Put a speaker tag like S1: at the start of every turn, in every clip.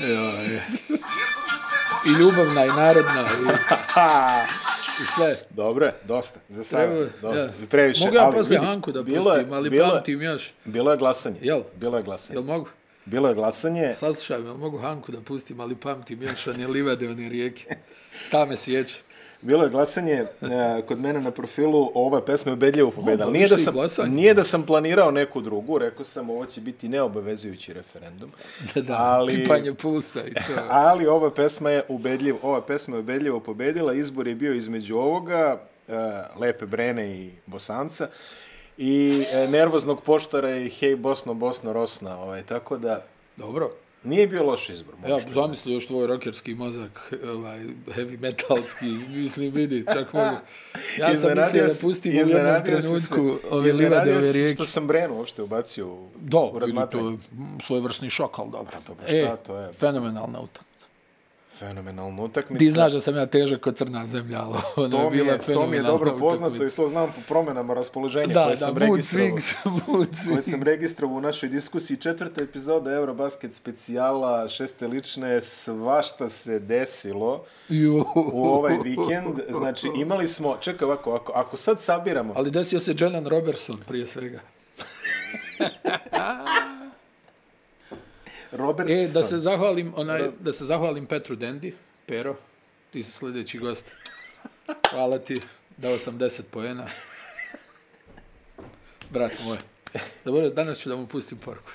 S1: Joj. I ljubavna, i narodna, i, i sve.
S2: Dobro je, dosta. Za sada.
S1: Evo,
S2: Dobro.
S1: ja.
S2: Previše.
S1: Mogu ja
S2: ali
S1: poslije
S2: vidi,
S1: Anku da
S2: bilo je-
S1: pustim, ali
S2: bilo je-
S1: pamtim još.
S2: Bilo je glasanje.
S1: Jel?
S2: Bilo je glasanje.
S1: Jel mogu?
S2: Bilo je glasanje.
S1: Saslušaj me, jel mogu Hanku da pustim, ali pamtim još one livade, one rijeke. Ta me sjeća.
S2: Bilo je glasanje e, kod mene na profilu, ova pesma je ubedljivo pobeda.
S1: O,
S2: Nije da,
S1: došli
S2: sam,
S1: glasanje.
S2: nije da sam planirao neku drugu, rekao sam ovo će biti neobavezujući referendum,
S1: Da, da,
S2: Ali-
S1: pipanje pulsa i to.
S2: ali ova pesma je ubedljivo, ova pesma je ubedljivo pobedila, izbor je bio između ovoga, e, Lepe Brene i Bosanca, i e, nervoznog poštara i Hej Bosno, Bosno, Rosna, ovaj, tako da
S1: Dobro.
S2: nije bio loš izbor. moram
S1: Ja
S2: priznati.
S1: zamislio još tvoj rokerski mozak, ovaj, heavy metalski, mislim, vidi, čak mogu. Ja sam mislio da
S2: si-
S1: pustim u jednom
S2: iznenadio si
S1: trenutku
S2: se-
S1: ove livade,
S2: iznenadio
S1: ove
S2: si se
S1: rijeke.
S2: Što sam Brenu uopšte ubacio u,
S1: Da,
S2: u
S1: vidi, to
S2: razmatranje.
S1: je svojevrsni šok, ali dobro. dobro
S2: Pa šta to je?
S1: Fenomenalna utakmica.
S2: Fenomenalnu utakmicu.
S1: Ti znaš da sam ja težak kod crna zemlja, ali ona
S2: to
S1: je
S2: mi je,
S1: bila
S2: to mi je
S1: fenomenalna
S2: dobro poznato i
S1: utakmica.
S2: to znam po promenama raspoloženja
S1: Da,
S2: koje,
S1: da,
S2: sam
S1: mood
S2: registrovao,
S1: swings, mood
S2: koje sam
S1: swings.
S2: registrovao u našoj diskusiji. Četvrta epizoda Eurobasket specijala šeste lične, svašta se desilo
S1: Ju.
S2: u ovaj vikend. Znači imali smo, čekaj ovako, ako, ako sad sabiramo,
S1: Ali desio se Jalen Robertson prije svega. E,
S2: Robert
S1: E, da se zahvalim, onaj, da se zahvalim Petru Dendi, Pero, ti si sljedeći gost. Hvala ti, dao sam 10 poena. Brat moj. Dobro, danas ću da mu pustim porku.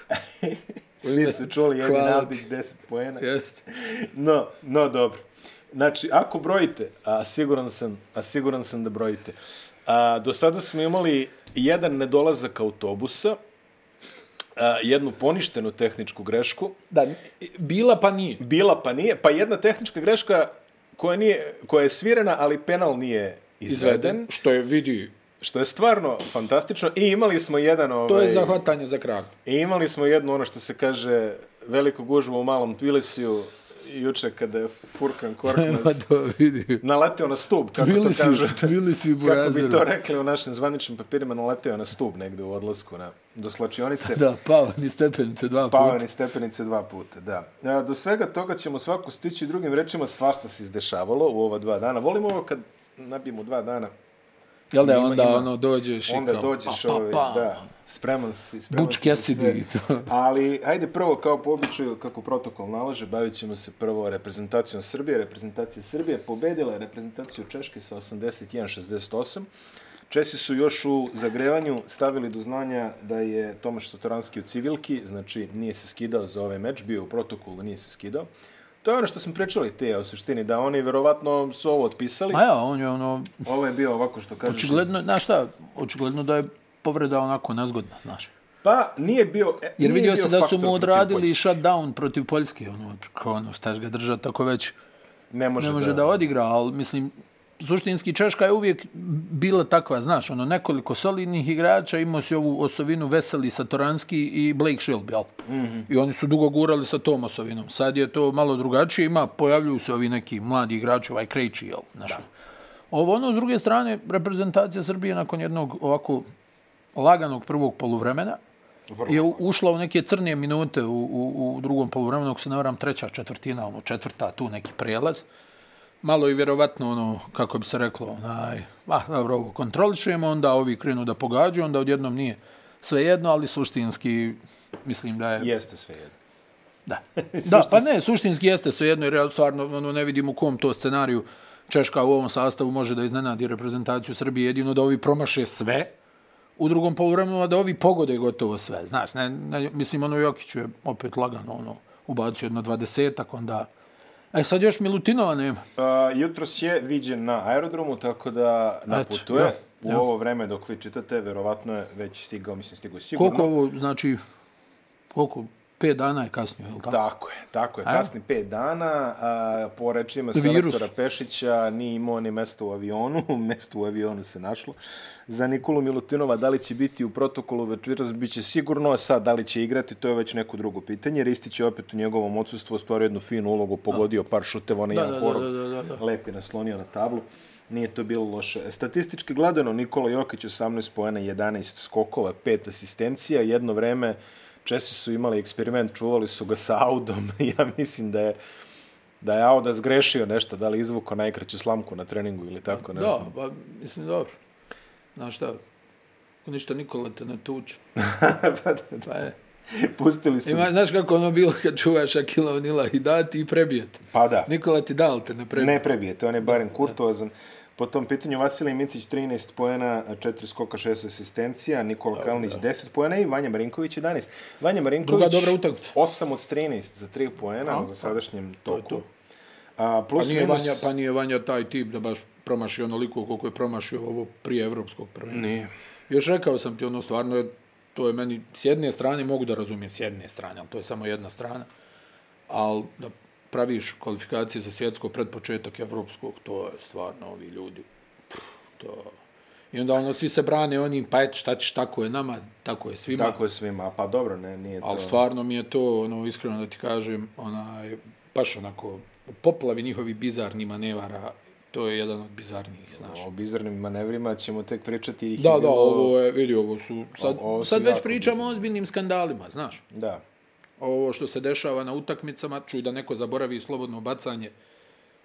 S2: svi su čuli, Edin
S1: Hvala ti.
S2: Avdić 10 poena.
S1: Jeste.
S2: No, no dobro. Znači, ako brojite, a siguran sam, a siguran sam da brojite, a, do sada smo imali jedan nedolazak autobusa, a, jednu poništenu tehničku grešku,
S1: Da, bila pa nije.
S2: bila pa nije, pa jedna tehnička greška koja, nije, koja je svirena, ali penal nije izveden, izveden.
S1: Što je vidi.
S2: što je stvarno fantastično. I imali smo jedan... Ovaj,
S1: To je zahvatanje za krak.
S2: I imali smo jednu, ono što se kaže, veliku gužvu u malom Tbilisiju, juče kada je Furkan
S1: Nema
S2: Korkmaz
S1: to vidi.
S2: naleteo na stub, kako
S1: Bili
S2: to
S1: si,
S2: kaže.
S1: bili si u
S2: Kako bi to
S1: Burazeru.
S2: rekli u našim zvaničnim papirima, naleteo je na stub negde u odlasku na, do slačionice.
S1: Da, pao ni stepenice dva puta.
S2: Pao je niz stepenice dva puta, da. E, Do svega toga ćemo svako stići drugim rečima, svašta se izdešavalo u ova dva dana. Volim ovo kad nabijemo dva dana,
S1: Jel da,
S2: Ima-
S1: onda
S2: ima.
S1: ono dođeš i
S2: onda
S1: kao,
S2: dođeš
S1: pa, pa,
S2: ovaj,
S1: pa.
S2: da, spreman si. Spreman
S1: Buč
S2: si za sve.
S1: Cassidy i to.
S2: Ali, hajde prvo, kao po običaju, kako protokol nalaže, bavit ćemo se prvo reprezentacijom Srbije. Reprezentacija Srbije pobedila je reprezentaciju Češke sa 81-68. Česi su još u zagrevanju stavili do znanja da je Tomaš Satoranski u civilki, znači nije se skidao za ovaj meč, bio je u protokolu, nije se skidao. To je ono što smo pričali te, u suštini, da oni verovatno su ovo otpisali.
S1: Ma ja, on je ono,
S2: Ovo je bio ovako što kažeš.
S1: očigledno, znaš šta, očigledno da je povreda onako nezgodna, znaš.
S2: Pa nije bio... e,
S1: Jer
S2: nije
S1: vidio
S2: bio
S1: se da su
S2: faktor
S1: mu
S2: protiv
S1: odradili
S2: Poljske.
S1: shutdown protiv Poljske, ono, kao ono, staš ga držati tako već,
S2: Ne može,
S1: ne može da odigra, ali mislim, suštinski Češka je uvijek bila takva, znaš, ono, nekoliko solidnih igrača, imao si ovu osovinu Veseli, Satoranski i Blake Shelby, jel? I oni su dugo gurali sa tom osovinom. Sad je to malo drugačije, ima, pojavljuju se ovi neki mladi igrači, ovaj Krejči, jel? Znaš, Ovo, ono, s druge strane, reprezentacija Srbije nakon jednog ovako laganog prvog poluvremena,
S2: Vrlo.
S1: je u- ušla u neke crne minute u, u, u drugom poluvremenu, ako se ne varam, treća četvrtina, ono, četvrta, tu neki prelaz. Malo i vjerovatno, ono, kako bi se reklo, onaj, ah, dobro, ovo kontrolišujemo, onda ovi krenu da pogađaju, onda odjednom nije svejedno, ali suštinski mislim da je...
S2: Jeste sve jedno.
S1: Da. da, pa ne, suštinski jeste svejedno, jer ja stvarno ono, ne vidim u kom to scenariju Češka u ovom sastavu može da iznenadi reprezentaciju Srbije, jedino da ovi promaše sve u drugom poluvremenu, a da ovi pogode gotovo sve. Znaš, ne, ne, mislim, ono Jokić je opet lagano ono, ubacio jedno dvadesetak, onda... E, sad još Milutinova nema.
S2: Uh, jutros je viđen na aerodromu, tako da naputuje.
S1: Eto,
S2: u ovo vreme dok vi čitate, verovatno je već stigao, mislim stigao je sigurno.
S1: Koliko ovo, znači, koliko, pet dana je kasnije, je li tako?
S2: Tako je, tako je. Kasni pet dana, a, po rečima
S1: Virus.
S2: selektora Pešića, nije imao ni mesto u avionu, mesto u avionu se našlo. Za Nikolu Milutinova, da li će biti u protokolu večeras, bit će sigurno, a sad da li će igrati, to je već neko drugo pitanje. Ristić je opet u njegovom odsustvu ostvario jednu finu ulogu, pogodio par šuteva, onaj
S1: Da,
S2: jedan
S1: da,
S2: porog,
S1: da, da, da, da.
S2: lepi naslonio na tablu. Nije to bilo loše. Statistički gledano, Nikola Jokić 18 poena, 11 skokova, 5 asistencija, jedno vreme Česi su imali eksperiment, čuvali su ga sa Audom. ja mislim da je da je Auda zgrešio nešto, da li izvuko najkraću slamku na treningu ili tako nešto.
S1: Da, pa mislim, dobro. Znaš šta, ako ništa Nikola te ne tuče.
S2: pa, da,
S1: Pa je.
S2: pustili su.
S1: Ima, znaš kako ono bilo kad čuvaš Akila Onila i dati i prebijete.
S2: Pa da.
S1: Nikola ti dal te ne prebije.
S2: Ne prebijete, on je barem kurtoazan. Po tom pitanju Vasilij Micić 13 poena, 4 skoka, 6 asistencija, Nikola Kalnić 10 poena i Vanja Marinković 11. Vanja Marinković
S1: dobra utakmica.
S2: 8 od 13 za 3 poena u sadašnjem toku.
S1: to.
S2: A, plus
S1: Pa nije,
S2: minus...
S1: Vanja, pa nije Vanja taj tip da baš promaši onoliko koliko je promašio ovo prije evropskog prvenstva.
S2: Nije.
S1: Još rekao sam ti, ono stvarno je, to je meni, s jedne strane mogu da razumijem, s jedne strane, ali to je samo jedna strana, ali da praviš kvalifikacije za svjetsko pred početak evropskog, to je stvarno ovi ljudi, pff, to... I onda ono, svi se brane onim, pa eto, šta ćeš, tako je nama, tako je svima.
S2: Tako je svima, pa dobro, ne, nije to.
S1: Ali stvarno mi je to, ono, iskreno da ti kažem, onaj, baš onako, u poplavi njihovi bizarni manevara, to je jedan od bizarnijih, znaš.
S2: O bizarnim manevrima ćemo tek pričati. ih je
S1: znači. Da, da,
S2: bilo-
S1: ovo je, vidi, ovo su, sad,
S2: Ovo su
S1: sad već
S2: jako
S1: pričamo o ozbiljnim skandalima, znaš.
S2: Da.
S1: Ovo što se dešava na utakmicama, čuj da neko zaboravi slobodno bacanje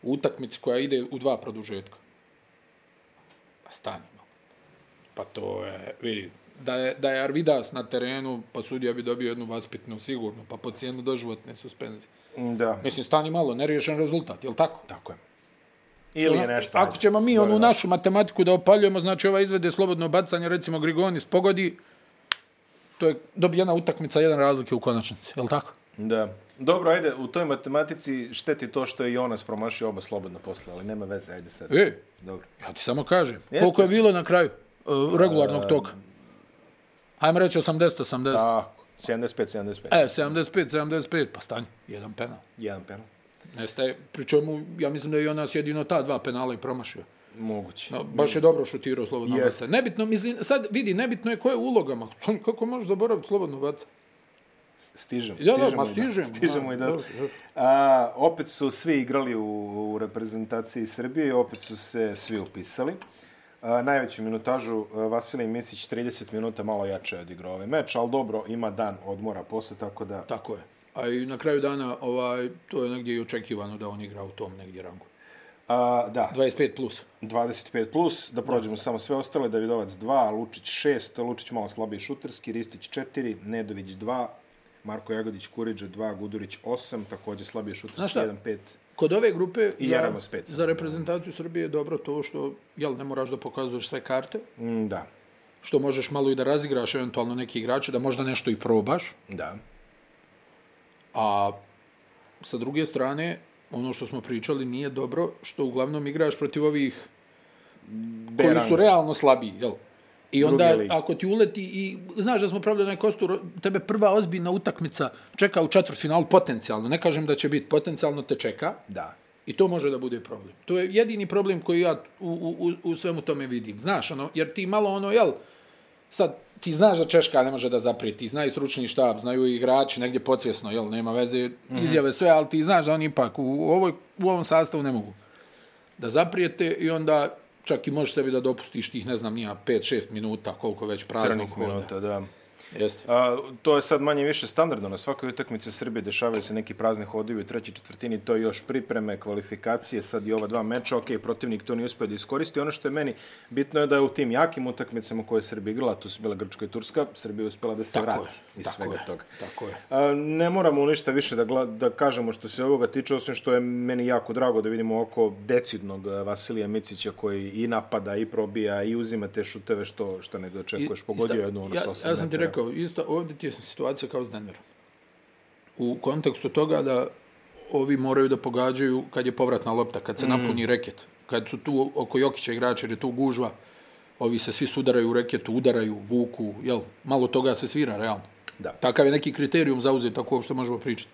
S1: u utakmici koja ide u dva produžetka. Pa stani malo. Pa to je, vidi, da je, da je Arvidas na terenu, pa sudija bi dobio jednu vaspitnu sigurno, pa po cijenu doživotne suspenzije.
S2: Da,
S1: Mislim, stani malo, neriješen rezultat, jel tako?
S2: tako je. Ili je nešto.
S1: Ako
S2: ajde.
S1: ćemo mi
S2: Gore,
S1: onu
S2: da.
S1: našu matematiku da opaljujemo, znači ova izvede slobodno bacanje, recimo Grigonis pogodi, to je dobijena utakmica, jedan razlike u konačnici, je li tako?
S2: Da. Dobro, ajde, u toj matematici šteti to što je Jonas promašio oba slobodno posle, ali nema veze, ajde sad.
S1: E,
S2: Dobro.
S1: ja ti samo kažem, koliko je bilo na kraju uh, regularnog toka? Ajmo reći 80, 80.
S2: Tako, 75-75.
S1: E, 75, 75, pa stanje, jedan penal.
S2: Jedan penal.
S1: Nestaje, pričemu, ja mislim da je Jonas jedino ta dva penala i promašio.
S2: Moguće.
S1: No, baš je dobro šutirao slobodno yes.
S2: Jest.
S1: baca. Nebitno, mislim, sad vidi, nebitno je ko je u ulogama. Kako možeš zaboraviti slobodno baca?
S2: Stižem.
S1: Ja, da,
S2: stižemo
S1: ma
S2: i
S1: stižem.
S2: Stižemo
S1: ma,
S2: i da.
S1: dobro, dobro.
S2: A, opet su svi igrali u, u reprezentaciji Srbije i opet su se svi upisali. A, najveću minutažu a, Vasilij Misić 30 minuta malo jače je odigrao ovaj meč, ali dobro, ima dan odmora posle, tako da...
S1: Tako je. A i na kraju dana, ovaj, to je negdje i očekivano da on igra u tom negdje rangu.
S2: A, da,
S1: 25 plus.
S2: 25 plus, da prođemo samo sve ostale, Davidovac 2, Lučić 6, Lučić malo slabiji šuterski, Ristić 4, Nedović 2, Marko Jagodić Kuriđa 2, Gudurić 8, takođe slabiji
S1: Znaš
S2: šuterski
S1: šta?
S2: 1, 5.
S1: Kod ove grupe
S2: I
S1: za,
S2: Jaramo Spec.
S1: za reprezentaciju Srbije je dobro to što jel, ne moraš da pokazuješ sve karte,
S2: Mm, da,
S1: što možeš malo i da razigraš eventualno neki igrače, da možda nešto i probaš,
S2: da.
S1: a sa druge strane, ono što smo pričali nije dobro što uglavnom igraš protiv ovih koji su realno slabiji, jel? I onda,
S2: lige.
S1: ako ti uleti i, znaš da smo pravili onaj kostur, tebe prva ozbiljna utakmica čeka u četvrtfinalu potencijalno, ne kažem da će biti, potencijalno te čeka
S2: Da.
S1: i to može da bude problem. To je jedini problem koji ja u, u, u- u svemu tome vidim, znaš, ono, jer ti malo ono, jel, sad, ti znaš da Češka ne može da zaprijeti, zna i stručni štab, znaju i igrači, negdje podsvjesno, jel, nema veze,
S2: Mhm.
S1: izjave sve, ali ti znaš da oni ipak u, ovoj, u ovom sastavu ne mogu da zaprijete i onda čak i možeš sebi da dopustiš tih, ne znam, nija 5-6 minuta, koliko već praznog
S2: Crnih
S1: hoda.
S2: minuta, da.
S1: Jeste.
S2: A, to je sad manje više standardno. Na svakoj utakmici Srbije dešavaju se neki prazni hodovi u trećoj četvrtini, to je još pripreme, kvalifikacije, sad i ova dva meča, ok, protivnik to nije uspio da iskoristi. Ono što je meni bitno je da je u tim jakim utakmicama koje je Srbija igrala, tu su bila Grčka i Turska, Srbija je uspjela da se
S1: Tako
S2: vrati
S1: je,
S2: iz
S1: tako
S2: svega
S1: je,
S2: toga.
S1: tako je.
S2: A, ne moramo ništa više da, gla, da kažemo što se ovoga tiče, osim što je meni jako drago da vidimo oko decidnog e, Vasilija Micića koji i napada, i probija, i uzima te šuteve što, što ne dočekuješ. Pogodio je jednu ono
S1: ja,
S2: sa 8
S1: ja sam ti
S2: metara.
S1: rekao, isto, ovdje ti je situacija kao s Denverom. U kontekstu toga da ovi moraju da pogađaju kad je povratna lopta, kad se
S2: Mhm.
S1: napuni reket. Kad su tu oko Jokića igrači, jer je tu gužva, ovi se svi sudaraju u reketu, udaraju, vuku, jel, malo toga se svira, realno.
S2: Da.
S1: Takav je neki kriterijum zauzet, tako uopšte možemo pričati.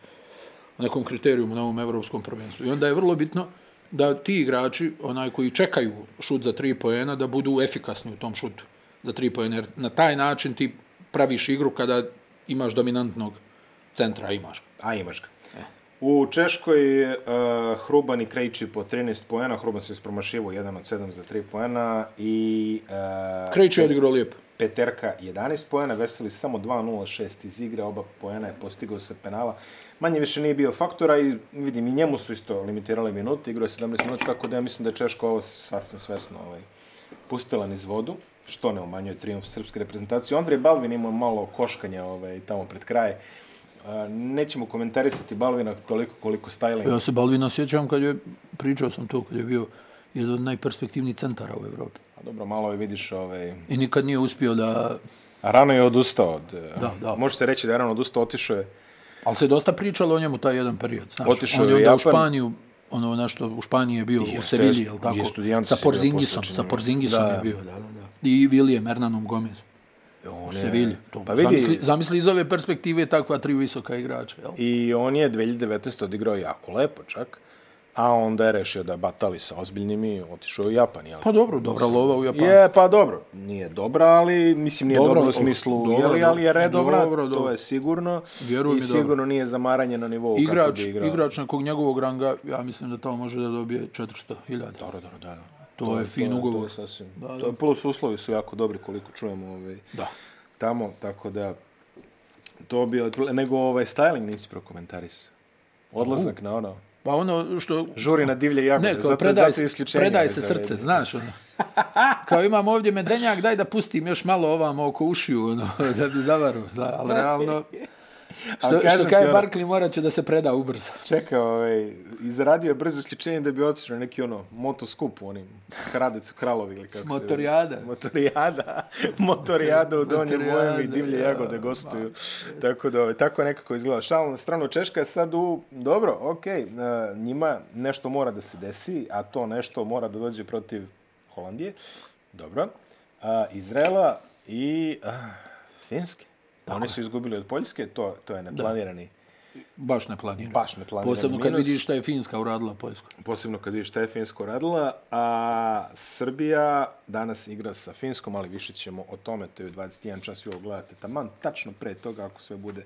S1: O nekom kriterijumu na ovom evropskom prvenstvu. I onda je vrlo bitno da ti igrači, onaj koji čekaju šut za tri poena, da budu efikasni u tom šutu za tri poena. Jer na taj način ti praviš igru kada imaš dominantnog centra, imaš.
S2: A imaš ga. U Češkoj uh, Hruban i Krejči po 13 poena, Hruban se ispromašivo 1 od 7 za 3 poena i uh,
S1: Kreću je odigrao lijepo.
S2: Peterka 11 poena, Veseli samo 2-0-6 iz igre, oba poena je postigao sa penala. Manje više nije bio faktora i vidim i njemu su isto limitirali minute, igrao je 17 minuta, tako da ja mislim da je Češka ovo sasvim svesno ovaj, pustila niz vodu, što ne umanjuje triumf srpske reprezentacije. Andrej Balvin imao malo koškanja ovaj, tamo pred kraje. A, Nećemo komentarisati Balvina toliko koliko styling.
S1: Ja se Balvina sjećam kad je, pričao sam to, kad je bio jedan od najperspektivnijih centara u Evropi.
S2: A dobro, malo je vidiš ovaj,
S1: I nikad nije uspio da...
S2: A rano je odustao od...
S1: Da, da.
S2: Može se reći da je rano odustao, otišao je.
S1: Ali se dosta pričalo o njemu taj jedan period. Znaš,
S2: Otišao
S1: on je
S2: je
S1: onda u
S2: Japan.
S1: Španiju, ono nešto, u Španiji je bio, u
S2: Jeste,
S1: Sevilji,
S2: jeste,
S1: jel tako?
S2: gdje Estudiantes
S1: Sa
S2: je bio
S1: Porzingisom,
S2: posvećen
S1: sa
S2: njemu.
S1: Porzingisom
S2: Da.
S1: je bio, da, da, da. I Vilijem Hernanom Gomezom.
S2: On
S1: U Sevilji. To,
S2: Pa vidi,
S1: zamisli, zamisli iz ove perspektive takva tri visoka igrača, jel?
S2: I on je 2019. odigrao jako lepo čak, a onda je rešio da batali sa ozbiljnim i otišao u Japan, jel?
S1: Pa dobro, dobra lova u Japanu.
S2: Je, pa dobro, nije dobra, ali mislim nije
S1: Dobro,
S2: dobro, dobro u
S1: dobro,
S2: smislu,
S1: dobro,
S2: dobro, jeli, ali je
S1: dobro,
S2: redovna,
S1: dobro,
S2: dobro,
S1: dobro.
S2: to je sigurno.
S1: Vjeruj mi,
S2: I
S1: dobro.
S2: sigurno nije zamaranje na nivou kako
S1: Igrač,
S2: bi igrao.
S1: igrač nekog njegovog ranga, ja mislim da tamo može da dobije 400.000.
S2: Dobro, dobro, da, da.
S1: To, je fin
S2: To je-
S1: ugovor.
S2: To je sasvim. Da, da. To je plus uslovi su jako dobri koliko čujemo ovaj,
S1: Da.
S2: tamo, tako da to bi otprile. Nego ovaj styling nisi prokomentarisao. Odlazak na ono.
S1: Pa ono što
S2: Žuri na divlje jagode.
S1: Ne, kao
S2: zato,
S1: predaj,
S2: zato je isključenje.
S1: predaj
S2: ovaj,
S1: se
S2: za
S1: srce,
S2: red.
S1: znaš ono. Kao imam ovdje medenjak, daj da pustim još malo ovamo oko ušiju, ono, da bi zavaru. Da, ali realno, što,
S2: kažem
S1: što
S2: ti,
S1: kaže
S2: ono-
S1: Barkley, morat će da se preda ubrzo.
S2: Čeka, ovaj, izradio je brzo isključenje da bi otišao na neki ono motoskup u onim Hradec u Kralovi ili kako se...
S1: Motorijada.
S2: Motorijada. Motorijada u Donjem
S1: Motorijada,
S2: Vojem i divlje
S1: da,
S2: jagode gostuju. Tako da, ovaj, tako nekako izgleda. Šalno na stranu Češka je sad u... Dobro, okej, okay, njima nešto mora da se desi, a to nešto mora da dođe protiv Holandije. Dobro. A, Izrela i a, Finske. Oni su izgubili od Poljske, to, to je neplanirani.
S1: Baš ne planiram.
S2: Baš neplanirani
S1: Posebno kad
S2: minus.
S1: vidiš šta je Finska uradila Poljsku.
S2: posebno kad vidiš šta je Finsko radila, a Srbija danas igra sa Finskom, ali više ćemo o tome, to je u 21 čas, vi ovo gledate taman, tačno pre toga, ako sve bude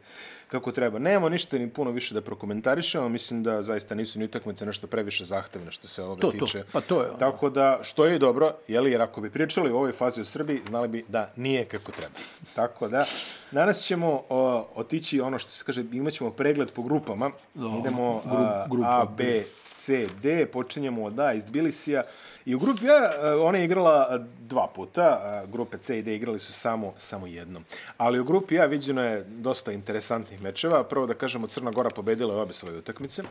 S2: kako treba. Nemamo ništa ni puno više da prokomentarišemo, mislim da zaista nisu ni utakmice nešto previše zahtevne što se ovoga
S1: To, to,
S2: tiče.
S1: pa to je ono.
S2: Tako da, što je i dobro, jeli, jer ako bi pričali u ovoj fazi o Srbiji, znali bi da nije kako treba. Tako da, danas ćemo o, otići ono što se kaže, imat ćemo pregled po grupama,
S1: Da,
S2: idemo
S1: gru-
S2: a,
S1: grupa
S2: A,
S1: B.
S2: B, C, D, počinjemo od A iz Bilisija. I u grupi A, e, ona je igrala e, dva puta, a grupe C i D igrali su samo, samo jednom. Ali u grupi A viđeno je dosta interesantnih mečeva. Prvo da kažemo, Crna Gora pobedila je obe svoje utakmice.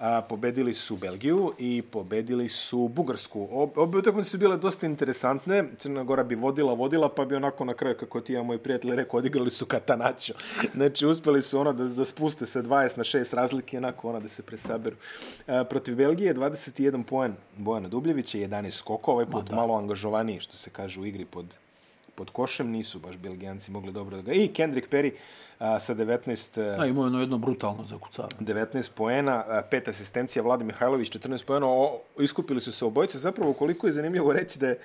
S2: A, pobedili su Belgiju i pobedili su Bugarsku. Ob- Obe utakmice su bile dosta interesantne. Crna Gora bi vodila, vodila, pa bi onako na kraju, kako ti ja moj prijatelj rekao, odigrali su katanačo. Znači, uspeli su ono da, da spuste sa 20 na 6 razlike, onako ono da se presaberu. E, protiv Belgije 21 poen Bojana Dubljevića, 11 skokova, ovaj put malo angažovaniji, što se kaže u igri pod pod košem, nisu baš Belgijanci mogli dobro da ga... I Kendrick Perry a, sa e, 19
S1: Da, imao je ono jedno brutalno zakucavanje.
S2: 19 poena, a, pet asistencija, Vlada Mihajlović 14 poena, o, iskupili su se obojice. Zapravo, koliko je zanimljivo reći da je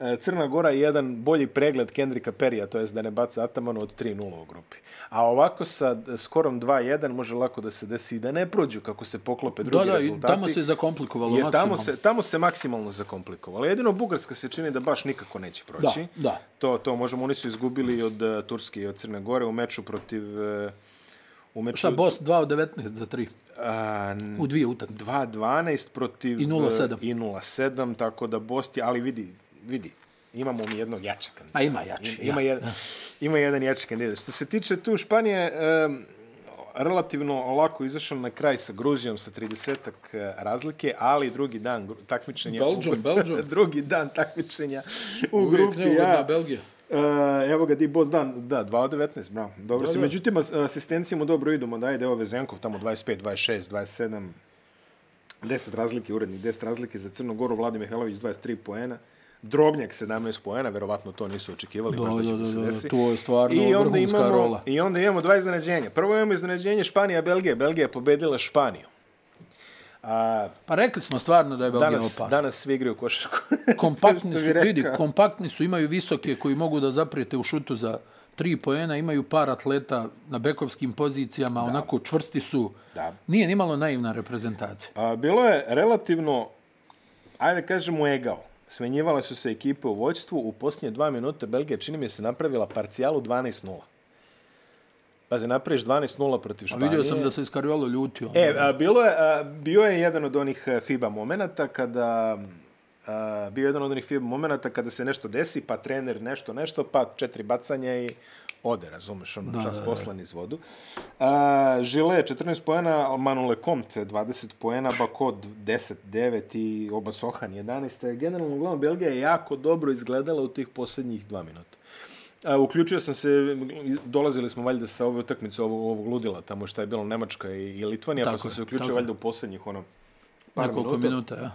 S2: e, Crna Gora jedan bolji pregled Kendrika Perija, to jest da ne baca Atamanu od 3-0 u grupi. A ovako sa e, skorom 2-1 može lako da se desi i da ne prođu kako se poklope drugi
S1: Da, da, i
S2: rezultati.
S1: tamo se zakomplikovalo
S2: Jer tamo
S1: maksimalno.
S2: se, tamo se maksimalno zakomplikovalo. Jedino Bugarska se čini da baš nikako neće proći.
S1: Da, da.
S2: To, to možemo, oni su izgubili i od e, Turske i od Crne Gore u meču protiv... e, U meču...
S1: Šta, Bos 2 od 19 za 3
S2: A, n-
S1: u dvije utakmice.
S2: 2-12 protiv... eh,
S1: I 0:7.
S2: I 0-7, tako da Bosti, ali vidi, vidi, imamo mi jednog jača kandidata.
S1: A ima jači,
S2: Ima, ima,
S1: ja.
S2: jedan, ima jedan jači kandidat. Što se tiče tu Španije, um, relativno lako izašao na kraj sa Gruzijom sa 30 razlike, ali drugi dan gru- takmičenja...
S1: Belgium, Belgium.
S2: drugi dan takmičenja u
S1: Uvijek
S2: grupi
S1: neugodna
S2: A.
S1: Belgija.
S2: Uh, evo ga, di boss dan, da, 2 od 19, bravo. Dobro
S1: Da,
S2: si.
S1: da.
S2: Međutim, as- asistencijama dobro idemo, da, ide ove Zenkov, tamo 25, 26, 27, 10 razlike, urednih 10 razlike za Crnu Goru, Vladi Mihajlović 23 poena, Drobnjak 17 poena, verovatno to nisu očekivali,
S1: Da,
S2: baš da
S1: da,
S2: će da
S1: da,
S2: se
S1: da,
S2: desi.
S1: to je stvarno
S2: I onda
S1: vrhunska
S2: imamo,
S1: rola.
S2: I onda imamo dva iznenađenja. Prvo imamo iznenađenje Španija-Belgija. Belgija je pobedila Španiju. A,
S1: Pa rekli smo stvarno da je Belgija
S2: danas,
S1: opasna.
S2: danas svi igraju košarku.
S1: kompaktni
S2: Što
S1: su,
S2: bi
S1: vidi,
S2: rekao.
S1: kompaktni su, imaju visoke koji mogu da zaprijete u šutu za tri poena, imaju par atleta na bekovskim pozicijama, da. onako čvrsti su.
S2: Da.
S1: Nije ni malo naivna reprezentacija.
S2: A, bilo je relativno, ajde kažemo, egao. Smenjivale su se ekipe u vođstvu. U posljednje dva minute Belgija čini mi se napravila parcijalu 12-0. Pazi, napraviš 12-0 protiv
S1: A
S2: Španije.
S1: vidio sam da se Iskariolo ljutio.
S2: Pa E, a, bilo je, a, bio je jedan od onih e, FIBA momenata kada a, bio je jedan od onih FIBA momenata kada se nešto desi, pa trener nešto, nešto, pa četiri bacanja i ode, razumeš, ono
S1: Da,
S2: da, čas
S1: da, da.
S2: poslan iz vodu. A, Žile 14 poena, Manule Comte 20 poena, Bako 10, 9 i Oba Sohan 11. Generalno, uglavnom, Belgija je jako dobro izgledala u tih posljednjih dva minuta. A, uključio sam se, dolazili smo valjda sa ove utakmice ovog, ovog ludila, tamo šta je bilo Nemačka i, i Litvanija,
S1: Tako
S2: pa sam
S1: je,
S2: se uključio
S1: tako je.
S2: valjda u posljednjih ono, par
S1: Nekoliko
S2: minuta.
S1: minuta, ja.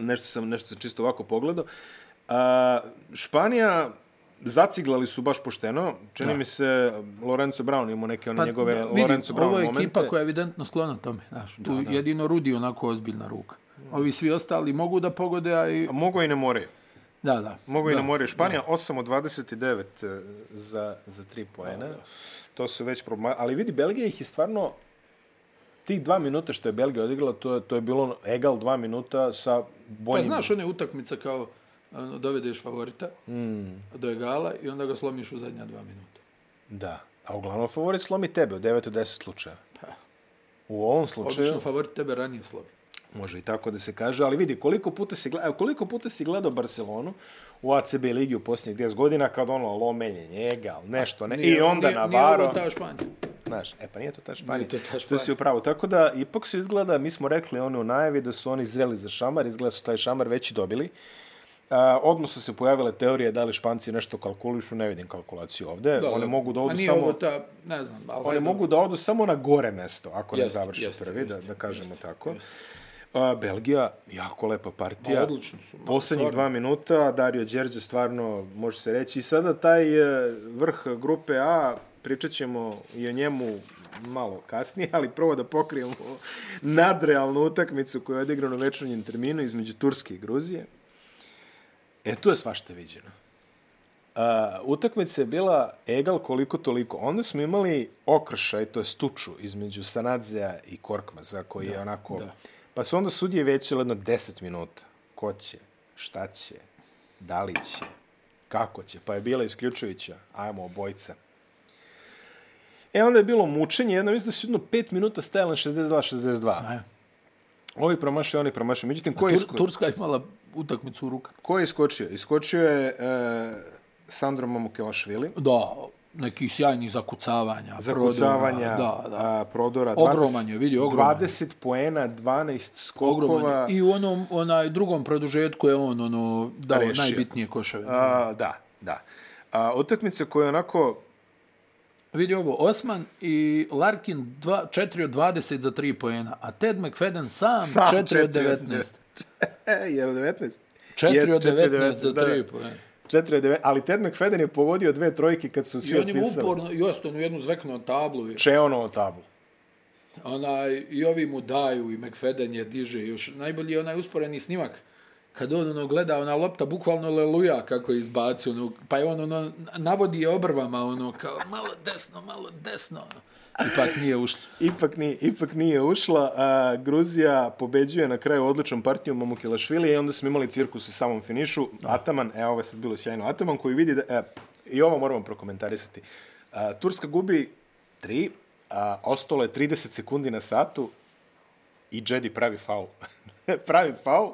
S2: Nešto sam, nešto sam čisto ovako pogledao. A, Španija zaciglali su baš pošteno. Čini
S1: Da.
S2: mi se Lorenzo Brown imao neke one njegove
S1: Pa, vidi,
S2: Lorenzo Brown
S1: Ovo je
S2: momente.
S1: ekipa koja je evidentno sklona tome. Znaš, tu jedino Rudi onako ozbiljna ruka. Ovi svi ostali mogu da pogode, a i...
S2: A Mogu i ne moraju.
S1: Da, da.
S2: Mogu i
S1: da.
S2: na more. Španija 8 od 29 za, za 3 poena. To su već problema. Ali vidi, Belgija ih je stvarno... Tih dva minuta što je Belgija odigrala, to je, to je bilo ono egal dva minuta sa
S1: Pa
S2: boljim...
S1: znaš, one utakmice kao ono, dovedeš favorita mm. do egala i onda ga slomiš u zadnja dva minuta.
S2: Da. A uglavnom favorit slomi tebe u 9 od 10 slučaja.
S1: Pa,
S2: U ovom slučaju...
S1: obično favorit tebe ranije slomi.
S2: Može i tako da se kaže, ali vidi koliko puta si gledao, koliko puta si gledao Barcelonu u ACB ligi u posljednjih 10 godina kad ono lomelje njega, ali nešto, ne, i onda
S1: nije,
S2: na
S1: Nije
S2: varo.
S1: ovo ta Španija.
S2: Znaš, e pa nije to ta Španija.
S1: Nije to ta
S2: To
S1: Španija.
S2: si upravo. Tako da, ipak su izgleda, mi smo rekli ono u najavi da su oni zreli za šamar, izgleda su taj šamar već i dobili. A, odmah su se pojavile teorije da li Španci nešto kalkulišu, ne vidim kalkulaciju ovde. Da, One E, mogu da
S1: A
S2: odu
S1: nije
S2: samo...
S1: ovo ta, ne znam, ali...
S2: Oni
S1: hajde,
S2: mogu da odu samo na gore mesto, ako
S1: Jeste,
S2: ne završi
S1: jeste,
S2: prvi, da,
S1: jeste,
S2: da kažemo tako. A, Belgija, jako lepa partija.
S1: Ma, odlični su, ma,
S2: Poslednjih
S1: stvarno.
S2: dva minuta, Dario Đerđe stvarno, može se reći. I sada taj e, vrh grupe A, pričat ćemo i o njemu malo kasnije, ali prvo da pokrijemo nadrealnu utakmicu koja je odigrana u večernjem terminu između Turske i Gruzije. E, tu je svašta viđeno. Uh, utakmica je bila egal koliko toliko. Onda smo imali okršaj, to je stuču, između Sanadzea i Korkmaza, koji da, je onako... Da.
S1: da.
S2: Pa su onda sudije većile jedno 10 minuta. Ko će, šta će, da li će, kako će. Pa je bila isključujuća, ajmo obojca. E, onda je bilo mučenje, jedno, mislim da su jedno 5 minuta stajali na 62-62.
S1: Ajde.
S2: Ovi promašaju, oni promašaju. Međutim, ko je
S1: Tur,
S2: isko...
S1: Turska je imala utakmicu u rukama.
S2: Ko je iskočio? Iskočio je e, Sandro Mamukelašvili.
S1: Da, nekih sjajnih zakucavanja.
S2: Zakucavanja,
S1: prodora, Da, da.
S2: A, prodora.
S1: Ogroman je, vidi, ogroman je.
S2: 20 poena, 12
S1: Ogroman
S2: skokova.
S1: je. I u onom onaj drugom produžetku je on ono dao
S2: Rešio.
S1: Rešio. najbitnije koševe. A...
S2: A, da, da. A, utakmica koja je onako...
S1: Vidi ovo, Osman i Larkin 2, 4 od 20 za 3 poena, a Ted McFadden sam,
S2: Sam
S1: 4 od 19.
S2: Jer od 19.
S1: 4
S2: Jeste,
S1: od 19 za
S2: da, da.
S1: 3 poena.
S2: 4 od 19. Ali Ted McFadden je pogodio dve trojke kad su
S1: I
S2: svi
S1: on im
S2: otpisali. Upor...
S1: uporno, just onu jednu zveknuo tablu. Je.
S2: Čeonovo tablu.
S1: Onaj, I ovi mu daju i McFadden je diže. Još najbolji je onaj usporeni snimak. Kad on ono gleda, ona lopta bukvalno leluja kako je izbacio. Ono, pa je on ono, navodi je obrvama ono kao malo desno, malo desno. Ono. Ipak nije ušlo.
S2: Ipak nije, ipak nije ušla. A, Gruzija pobeđuje na kraju odličnom partijom Mamukilašvili i onda smo imali cirkus u samom finišu. Ataman, e, ovo je sad bilo sjajno. Ataman koji vidi da... E, I ovo moramo prokomentarisati. A, Turska gubi 3, a, ostalo je 30 sekundi na satu i Jedi pravi faul. pravi faul.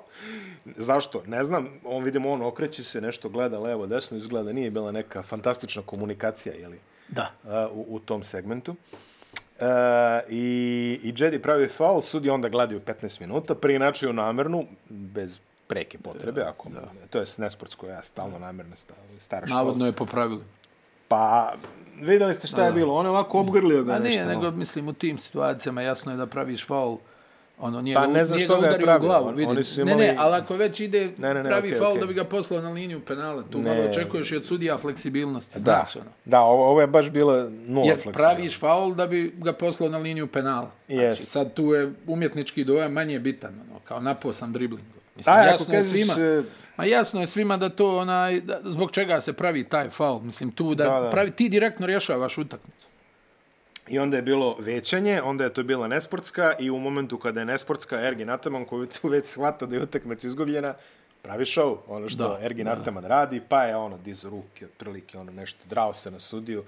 S2: Zašto? Ne znam. On, vidimo, on okreće se, nešto gleda levo, desno, izgleda da nije bila neka fantastična komunikacija, jeli?
S1: Da.
S2: a, u, u tom segmentu. E, i, I Jedi pravi faul, sudi onda gledaju 15 minuta, preinačuju namernu, bez preke potrebe, ako, to je nesportsko, ja stalno namerno, stalno, stara škola.
S1: Navodno je popravili.
S2: Pa, videli ste šta je bilo, on je ovako obgrlio ga
S1: A
S2: nešto.
S1: nije, Pa nego mislim u tim situacijama jasno je da praviš faul. Ono, nije
S2: Pa
S1: pa,
S2: ne
S1: ne
S2: znam
S1: nije ga
S2: što ga je
S1: udario u
S2: pravio,
S1: glavu.
S2: on-
S1: vidi.
S2: oni su
S1: Ne,
S2: imali-
S1: ne, ali ako već ide
S2: Ne, ne, ne,
S1: pravi
S2: okej,
S1: faul
S2: okej.
S1: da bi ga poslao na liniju penala, tu
S2: Ne.
S1: malo očekuješ i od sudija fleksibilnosti.
S2: Da,
S1: Znaš, ono.
S2: da ovo, ovo je baš bila nula
S1: Jer
S2: fleksibilna.
S1: praviš faul da bi ga poslao na liniju penala. Znači,
S2: Jest.
S1: sad tu je umjetnički dojam manje bitan, ono, kao napao sam dribling. Mislim,
S2: A,
S1: A,
S2: ako
S1: jasno je
S2: kažeš,
S1: svima.
S2: e,
S1: Ma jasno je svima da to onaj, da, zbog čega se pravi taj faul. Mislim, tu da,
S2: Da, da.
S1: pravi, ti direktno rješavaš utakmicu.
S2: I onda je bilo većanje, onda je to bila nesportska i u momentu kada je nesportska, Ergin Ataman koji tu već shvata da je utakmica izgubljena, pravi šou, ono što da,
S1: Da,
S2: Ergin da. Ataman radi, pa je ono diz ruke, otprilike ono nešto, drao se na sudiju,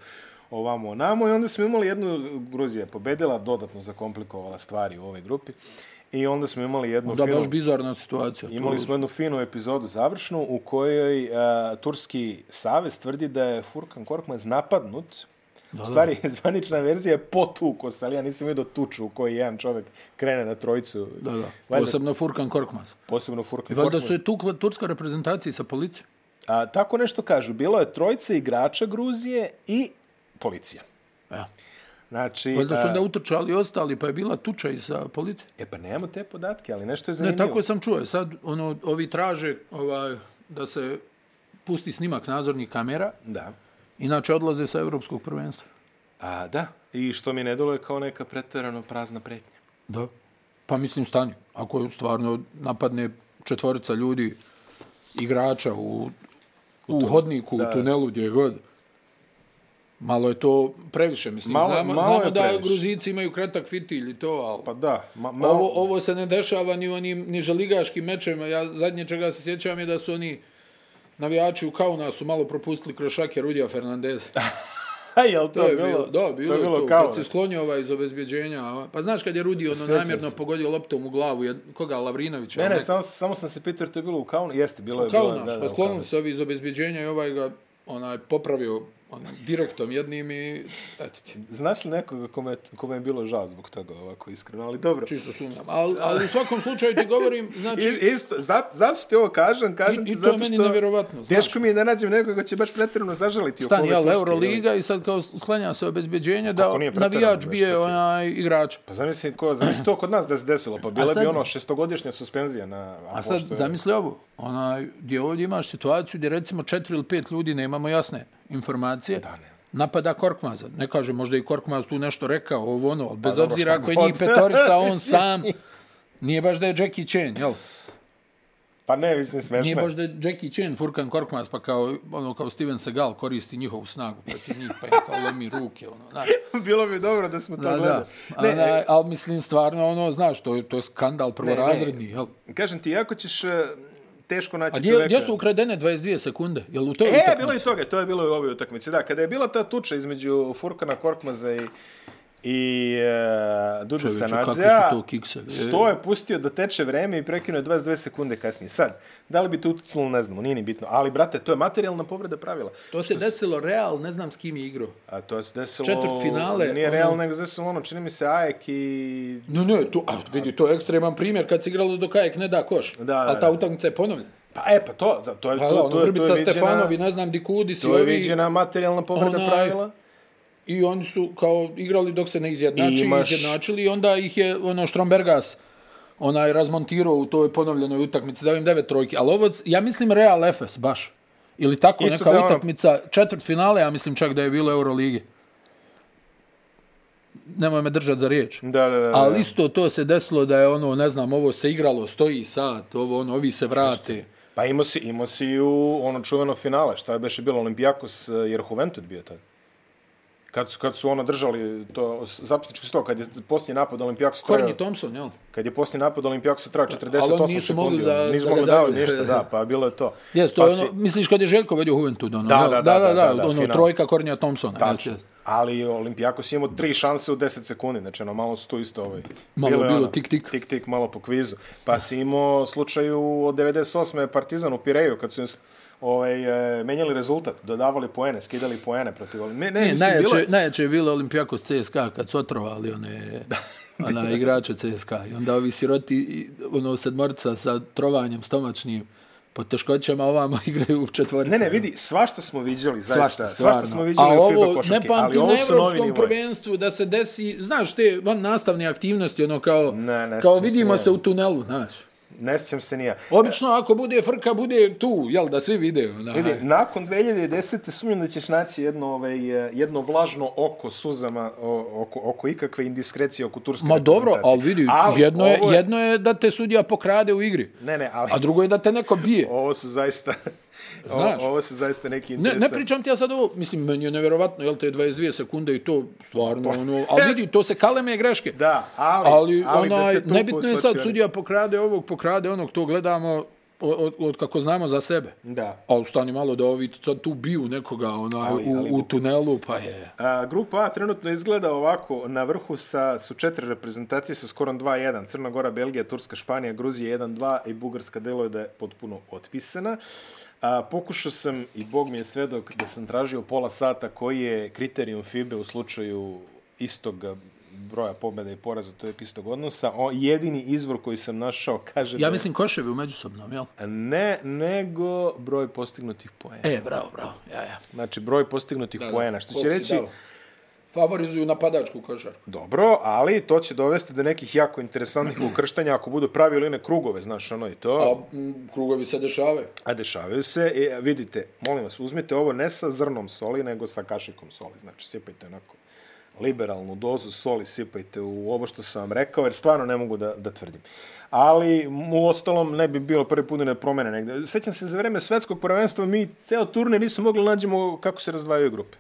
S2: ovamo onamo i onda smo imali jednu, Gruzija je pobedila, dodatno zakomplikovala stvari u ovoj grupi i onda smo imali jednu
S1: Da,
S2: finu-
S1: baš bizarna situacija.
S2: Imali smo jednu finu epizodu završnu u kojoj uh, Turski savez tvrdi da je Furkan Korkmaz napadnut. Da, u stvari, zvanična verzija je potukos, ali ja nisam vidio tuču u kojoj jedan čovek krene na trojicu.
S1: Da, da.
S2: Valjda,
S1: Posebno Furkan Korkmaz.
S2: posebno Furkan
S1: I valjda
S2: Korkmaz.
S1: su je tukla turska reprezentacija sa policijom.
S2: A, tako nešto kažu. Bilo je trojica igrača Gruzije i policija.
S1: Ja.
S2: Znači,
S1: Valjda su
S2: a,
S1: onda utrčali i ostali, pa je bila tuča i sa policijom.
S2: e pa nemamo te podatke, ali nešto je
S1: Ne,
S2: zanimljivo.
S1: tako sam čuo. Sad, ono, ovi traže ovaj, da se pusti snimak nadzornih kamera,
S2: Da.
S1: inače odlaze sa evropskog prvenstva.
S2: A, da. I što mi ne dole kao neka preterano prazna pretnja.
S1: Da. Pa mislim stani. Ako je stvarno napadne četvorica ljudi, igrača u, u, hodniku,
S2: da.
S1: u tunelu, gdje god, malo je to previše. Mislim,
S2: Malo-
S1: znamo,
S2: malo je
S1: znamo da
S2: previše.
S1: Gruzici imaju kratak fitilj i to, ali...
S2: Pa da. Ma, ma,
S1: Ovo, ovo se ne dešava ni u onim ni želigaškim mečevima. Ja zadnje čega se sjećam je da su oni navijači u Kaunasu malo propustili kroz šake Rudija Fernandeza.
S2: A Pa jel to,
S1: To je bilo, da, bilo
S2: to je bilo
S1: to.
S2: kao.
S1: Kad se slonio ovaj iz obezbjeđenja. a- Pa znaš kad je Rudi ono
S2: Sjećam
S1: namjerno
S2: se.
S1: pogodio loptom u glavu, jed, koga, Lavrinovića?
S2: Ne, ne,
S1: Onog-
S2: samo, samo sam se pitao jer to je bilo u Kaunu. Jeste, bilo je
S1: Kao
S2: bilo, je,
S1: nas, pa
S2: u
S1: sklonili
S2: Kaunasu.
S1: se ovi iz obezbjeđenja i ovaj ga onaj, popravio on, direktom jednim i eto ti.
S2: Znaš li nekoga kome, je- kome je bilo žao zbog toga ovako iskreno, ali dobro.
S1: Čisto sumnjam. Ali al u svakom slučaju ti govorim, znači,
S2: I, isto, za, zašto ti ovo kažem? kažem
S1: I-
S2: ti
S1: i to
S2: zato
S1: je meni
S2: što
S1: nevjerovatno, znaš.
S2: Teško mi je da nađem nekoga ko će baš pretjerano zažaliti. oko
S1: Stan,
S2: ove
S1: jel,
S2: Turske,
S1: Euroliga i sad kao sklanja se obezbjeđenje
S2: Kako
S1: da
S2: nije preterano,
S1: navijač
S2: već
S1: bije
S2: to ti je.
S1: onaj igrač.
S2: Pa zamisli, ko, zamisli to kod nas da se desilo. Pa bila
S1: sad-
S2: bi ono šestogodišnja suspenzija. Na,
S1: A sad zamisli ovo, onaj, gdje ovdje imaš situaciju gdje recimo četiri ili pet ljudi nemamo jasne informacije,
S2: Da, ne.
S1: napada Korkmaza. Ne kaže, možda i Korkmaz tu nešto rekao, ovo ono, ali bez
S2: Pa, dobro,
S1: obzira
S2: šta
S1: ako je
S2: god.
S1: njih petorica, on sam, nije baš da je Jackie Chan, jel?
S2: Pa ne, mislim, smešno.
S1: Nije
S2: je.
S1: baš da je Jackie Chan, Furkan Korkmaz, pa kao, ono, kao Steven Seagal koristi njihovu snagu protiv njih, pa im kao lomi ruke, ono, znaš.
S2: bilo bi dobro da smo to e-
S1: Da,
S2: gledali.
S1: da. Ne, ne, ali mislim stvarno ono, znaš, to je, to je skandal prvorazredni, jel?
S2: Kažem ti, jako ćeš e, teško naći
S1: A gdje,
S2: čoveka.
S1: gdje su ukradene 22 sekunde? Jel u toj
S2: Znači E,
S1: utakmici?
S2: bilo je i toga, to je bilo i u ovoj utakmici. Da, kada je bila ta tuča između Furkana Korkmaza i, i e, Dudu
S1: Čovječe,
S2: Sanadzea,
S1: kakvi su to kiksevi, e.
S2: sto je pustio da teče vreme i prekinuo je 22 sekunde kasnije. Sad, da li bi to uticalo, ne znamo, nije ni bitno. Ali, brate, to je materijalna povreda pravila.
S1: To se desilo Real, ne znam s kim je igrao.
S2: A to se desilo...
S1: Četvrtfinale,
S2: Nije
S1: ono-
S2: realno, nego se desilo ono, čini mi se Ajek i...
S1: No, ne, to, a, vidi, to je ekstreman primjer kad se igralo do kajek ne da koš.
S2: Da, da,
S1: Ali ta
S2: da.
S1: utakmica je ponovljena.
S2: Pa, e, pa to, to, to, je-
S1: Pa,
S2: to,
S1: da, ono,
S2: to, je- to,
S1: Vrbica
S2: je
S1: Stefanovi,
S2: viđena,
S1: ne znam di kudi si
S2: to je
S1: ovi.
S2: viđena materijalna povreda
S1: onaj-
S2: pravila.
S1: I oni su kao igrali dok se ne izjednači,
S2: I imaš-
S1: izjednačili i onda ih je ono Strombergas onaj razmontirao u toj ponovljenoj utakmici, dao im devet trojki. Ali ovo, ja mislim Real Efes baš. Ili tako
S2: Isto
S1: neka
S2: da je ono-
S1: utakmica, četvrt finale, ja mislim čak da je bilo Euroligi. Nemoj me držati za riječ.
S2: Da, da, da. da.
S1: Ali isto to se desilo da je ono, ne znam, ovo se igralo, stoji sat, ovo ono, ovi se vrate.
S2: Pa imao si, imao si i u ono čuveno finale, šta je beše bilo Olimpijakos eh, jer Juventus bio tad. Kad su, kad su ono držali to zapisnički sto, kad je posljednji napad Olimpijakos
S1: Kornji
S2: trajao,
S1: Thompson, jel?
S2: kad je posljednji napad Olimpijakos trajao
S1: Ali oni
S2: 48
S1: nisu
S2: sekundi,
S1: mogli da-
S2: ono, nisu
S1: da ga
S2: mogli dao
S1: daju.
S2: ništa, da, pa bilo je to.
S1: Jes, to
S2: pa
S1: je ono, misliš kad je Željko vedio Juventud, ono,
S2: Da,
S1: jel?
S2: da,
S1: da,
S2: da,
S1: da,
S2: da, da,
S1: ono,
S2: final.
S1: trojka Kornija Thompsona, jes,
S2: Tačno.
S1: jes.
S2: Ali Olimpijakos je imao tri šanse u 10 sekundi, znači ono malo su tu isto ovaj.
S1: Malo je bilo
S2: ono,
S1: tik, tik.
S2: Tik tik malo po kvizu. Pa si imao slučaju od 98. Partizan u Pireju kad su im s- ovaj, e, menjali rezultat, dodavali poene, skidali poene protiv Olim... Ne, ne,
S1: Ne,
S2: mislim,
S1: E, najjače,
S2: bilo je...
S1: najjače je bilo Olimpijakos CSKA kad su otrovali one, ona igrače CSKA i onda ovi siroti, i, ono sedmorica sa trovanjem stomačnim po teškoćama ovamo igraju u četvoricu.
S2: Ne, ne, vidi, svašta smo viđali, zaista. Svašta,
S1: stvarno.
S2: smo viđali
S1: A
S2: u FIBA
S1: ovo,
S2: košarki,
S1: ne
S2: ali
S1: pamtim
S2: ovo
S1: na
S2: su novi
S1: evropskom
S2: nivoj.
S1: prvenstvu da se desi, znaš, te van nastavne aktivnosti, ono kao,
S2: Ne, ne,
S1: kao
S2: sjećam se
S1: vidimo
S2: ja.
S1: se u tunelu, znaš.
S2: Ne sjećam se ni ja.
S1: Obično ako bude frka, bude tu, jel, da svi vide. Ona,
S2: Vidi, nakon 2010. sumnjam da ćeš naći jedno, ovaj, eh, jedno vlažno oko suzama, o, oko, oko ikakve indiskrecije oko turske
S1: Ma dobro,
S2: reprezentacije.
S1: ali vidi, jedno, je,
S2: ovo
S1: jedno je da te sudija pokrade u igri,
S2: Ne, ne, ali
S1: a drugo je da te neko bije.
S2: ovo su zaista...
S1: Znaš.
S2: o, ovo su zaista neki
S1: Ne, ne
S2: interesantni...
S1: pričam ti ja sad ovo, mislim, meni je nevjerovatno, jel te 22 sekunde i to stvarno,
S2: Pa-
S1: ono, ali vidi, to se kaleme greške.
S2: Da, ali...
S1: ali, ali
S2: da
S1: onaj,
S2: te tuku
S1: nebitno je sad
S2: svačijani.
S1: sudija pokrade ovog, pokrade onog, to gledamo od, od, od kako znamo za sebe.
S2: Da.
S1: A stani malo da ovi sad tu biju nekoga onaj,
S2: Ali-
S1: u,
S2: ali-
S1: u tunelu, pa je.
S2: A, grupa A trenutno izgleda ovako, na vrhu sa, su četiri reprezentacije sa skorom 2-1. Crna Gora, Belgija, Turska, Španija, Gruzija 1-2 i Bugarska delo je da je potpuno otpisana. A, pokušao sam, i Bog mi je svedok, da sam tražio pola sata koji je kriterijum FIBE E u slučaju istog broja pobjeda i poraza, to je istog odnosa. O, jedini izvor koji sam našao kaže da
S1: Ja
S2: je-
S1: mislim koševi u međusobnom, jel?
S2: ne, nego broj postignutih poena.
S1: E, bravo, bravo, ja, ja.
S2: Znači, broj postignutih da, poena, što će
S1: Koliko si
S2: reći...
S1: dao? Favorizuju napadačku košarku.
S2: Dobro, ali to će dovesti do nekih jako interesantnih ukrštanja ako budu pravili one krugove, znaš, ono i
S1: A
S2: to.
S1: Pa, m, krugovi se dešavaju.
S2: A dešavaju se, e, vidite, molim vas, uzmite ovo ne sa zrnom soli, nego sa kašikom soli. Znači, sipajte onako liberalnu dozu soli, sipajte u ovo što sam vam rekao, jer stvarno ne mogu da, da tvrdim. Ali, m, u ostalom, ne bi bilo prvi put da ne promene negde. Sećam se, za vreme svetskog prvenstva mi ceo turnir nismo mogli da nađemo kako se razdvajaju grupe.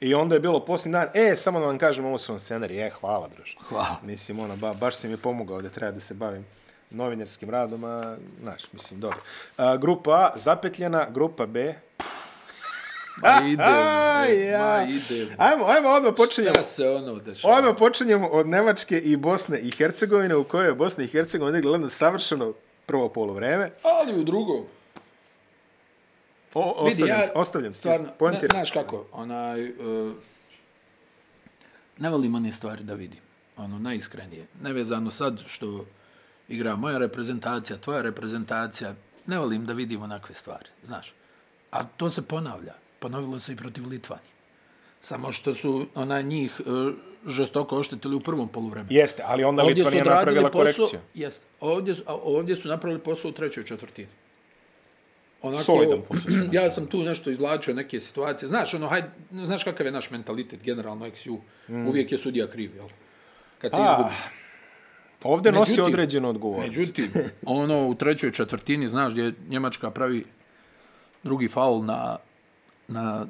S2: I onda je bilo posljednji dan, e, samo da vam kažem, ovo su vam scenari, e, hvala, druže.
S1: Hvala.
S2: Mislim, ono, ba, baš si mi pomogao da treba da se bavim novinarskim radom, a, znaš, mislim, dobro. A, grupa A, zapetljena, grupa B.
S1: Ma idemo,
S2: A,
S1: bre, ma
S2: ja.
S1: idemo.
S2: Ajmo, ajmo, odmah počinjemo.
S1: Šta se ono dešava?
S2: Odmah počinjemo od Nemačke i Bosne i Hercegovine, u kojoj je Bosna i Hercegovina odigrala jedno savršeno prvo polovreme.
S1: Ali u drugom.
S2: O, ostavljam, ja, ostavljam. ti,
S1: Stvarno, ne,
S2: poentiram.
S1: znaš kako, onaj, uh, ne volim one stvari da vidim. Ono, najiskrenije. Nevezano sad što igra moja reprezentacija, tvoja reprezentacija, ne volim da vidim onakve stvari, znaš. A to se ponavlja. Ponovilo se i protiv Litvani. Samo što su ona njih uh, žestoko oštetili u prvom poluvremenu.
S2: Jeste, ali onda Litva nije napravila korekciju.
S1: Jest, ovdje, su- a ovdje su napravili posao u trećoj četvrtini. Onako,
S2: Solidan posao su
S1: ja sam tu nešto izvlačio neke situacije. Znaš, ono, hajde, znaš kakav je naš mentalitet, generalno XU. Mm. Uvijek je sudija kriv, jel? Kad se
S2: A,
S1: izgubi.
S2: Ovde nosi
S1: Međutim-
S2: određenu odgovornost.
S1: Međutim, ono u trećoj četvrtini, znaš, gdje Njemačka pravi drugi faul na, na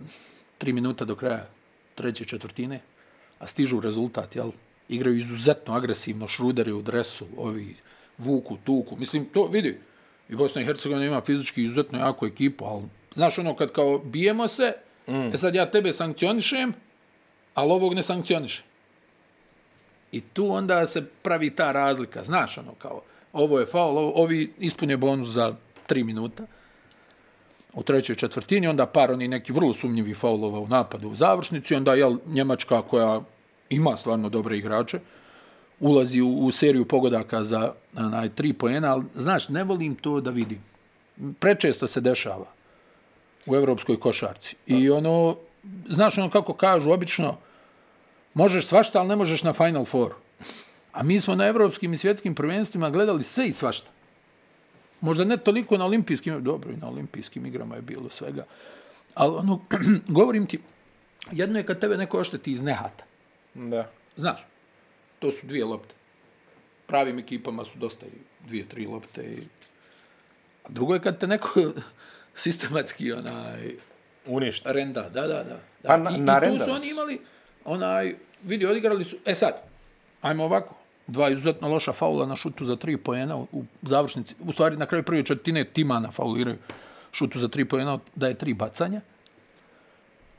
S1: tri minuta do kraja treće četvrtine, a stižu rezultat, jel? Igraju izuzetno agresivno, šruderi u dresu, ovi vuku, tuku. Mislim, to vidi, i Bosna i Hercegovina ima fizički izuzetno jako ekipu, ali znaš ono kad kao bijemo se, mm. e sad ja tebe sankcionišem, ali ovog ne sankcionišem. I tu onda se pravi ta razlika, znaš, ono kao, ovo je faul, ovo, ovi ispune bonus za tri minuta u trećoj četvrtini, onda par oni neki vrlo sumnjivi faulova u napadu u završnici, onda jel, Njemačka koja ima stvarno dobre igrače, ulazi u, u seriju pogodaka za onaj, tri poena, ali znaš, ne volim to da vidim. Prečesto se dešava u evropskoj košarci. I ono, znaš ono kako kažu, obično, možeš svašta, ali ne možeš na Final Four. A mi smo na evropskim i svjetskim prvenstvima gledali sve i svašta. Možda ne toliko na olimpijskim, dobro i na olimpijskim igrama je bilo svega. Ali ono, govorim ti, jedno je kad tebe neko ošteti iz nehata.
S2: Da.
S1: Znaš, to su dvije lopte. Pravim ekipama su dosta i dvije, tri lopte. I... A drugo je kad te neko sistematski onaj,
S2: Uništa.
S1: Renda, da, da, da. da.
S2: Pa na-
S1: I,
S2: na
S1: I tu
S2: Renda
S1: su
S2: vas.
S1: oni imali, onaj, vidi, odigrali su, e sad, ajmo ovako, dva izuzetno loša faula na šutu za tri pojena u, u završnici, u stvari na kraju prve četvrtine Timana fauliraju šutu za tri pojena, da je tri bacanja.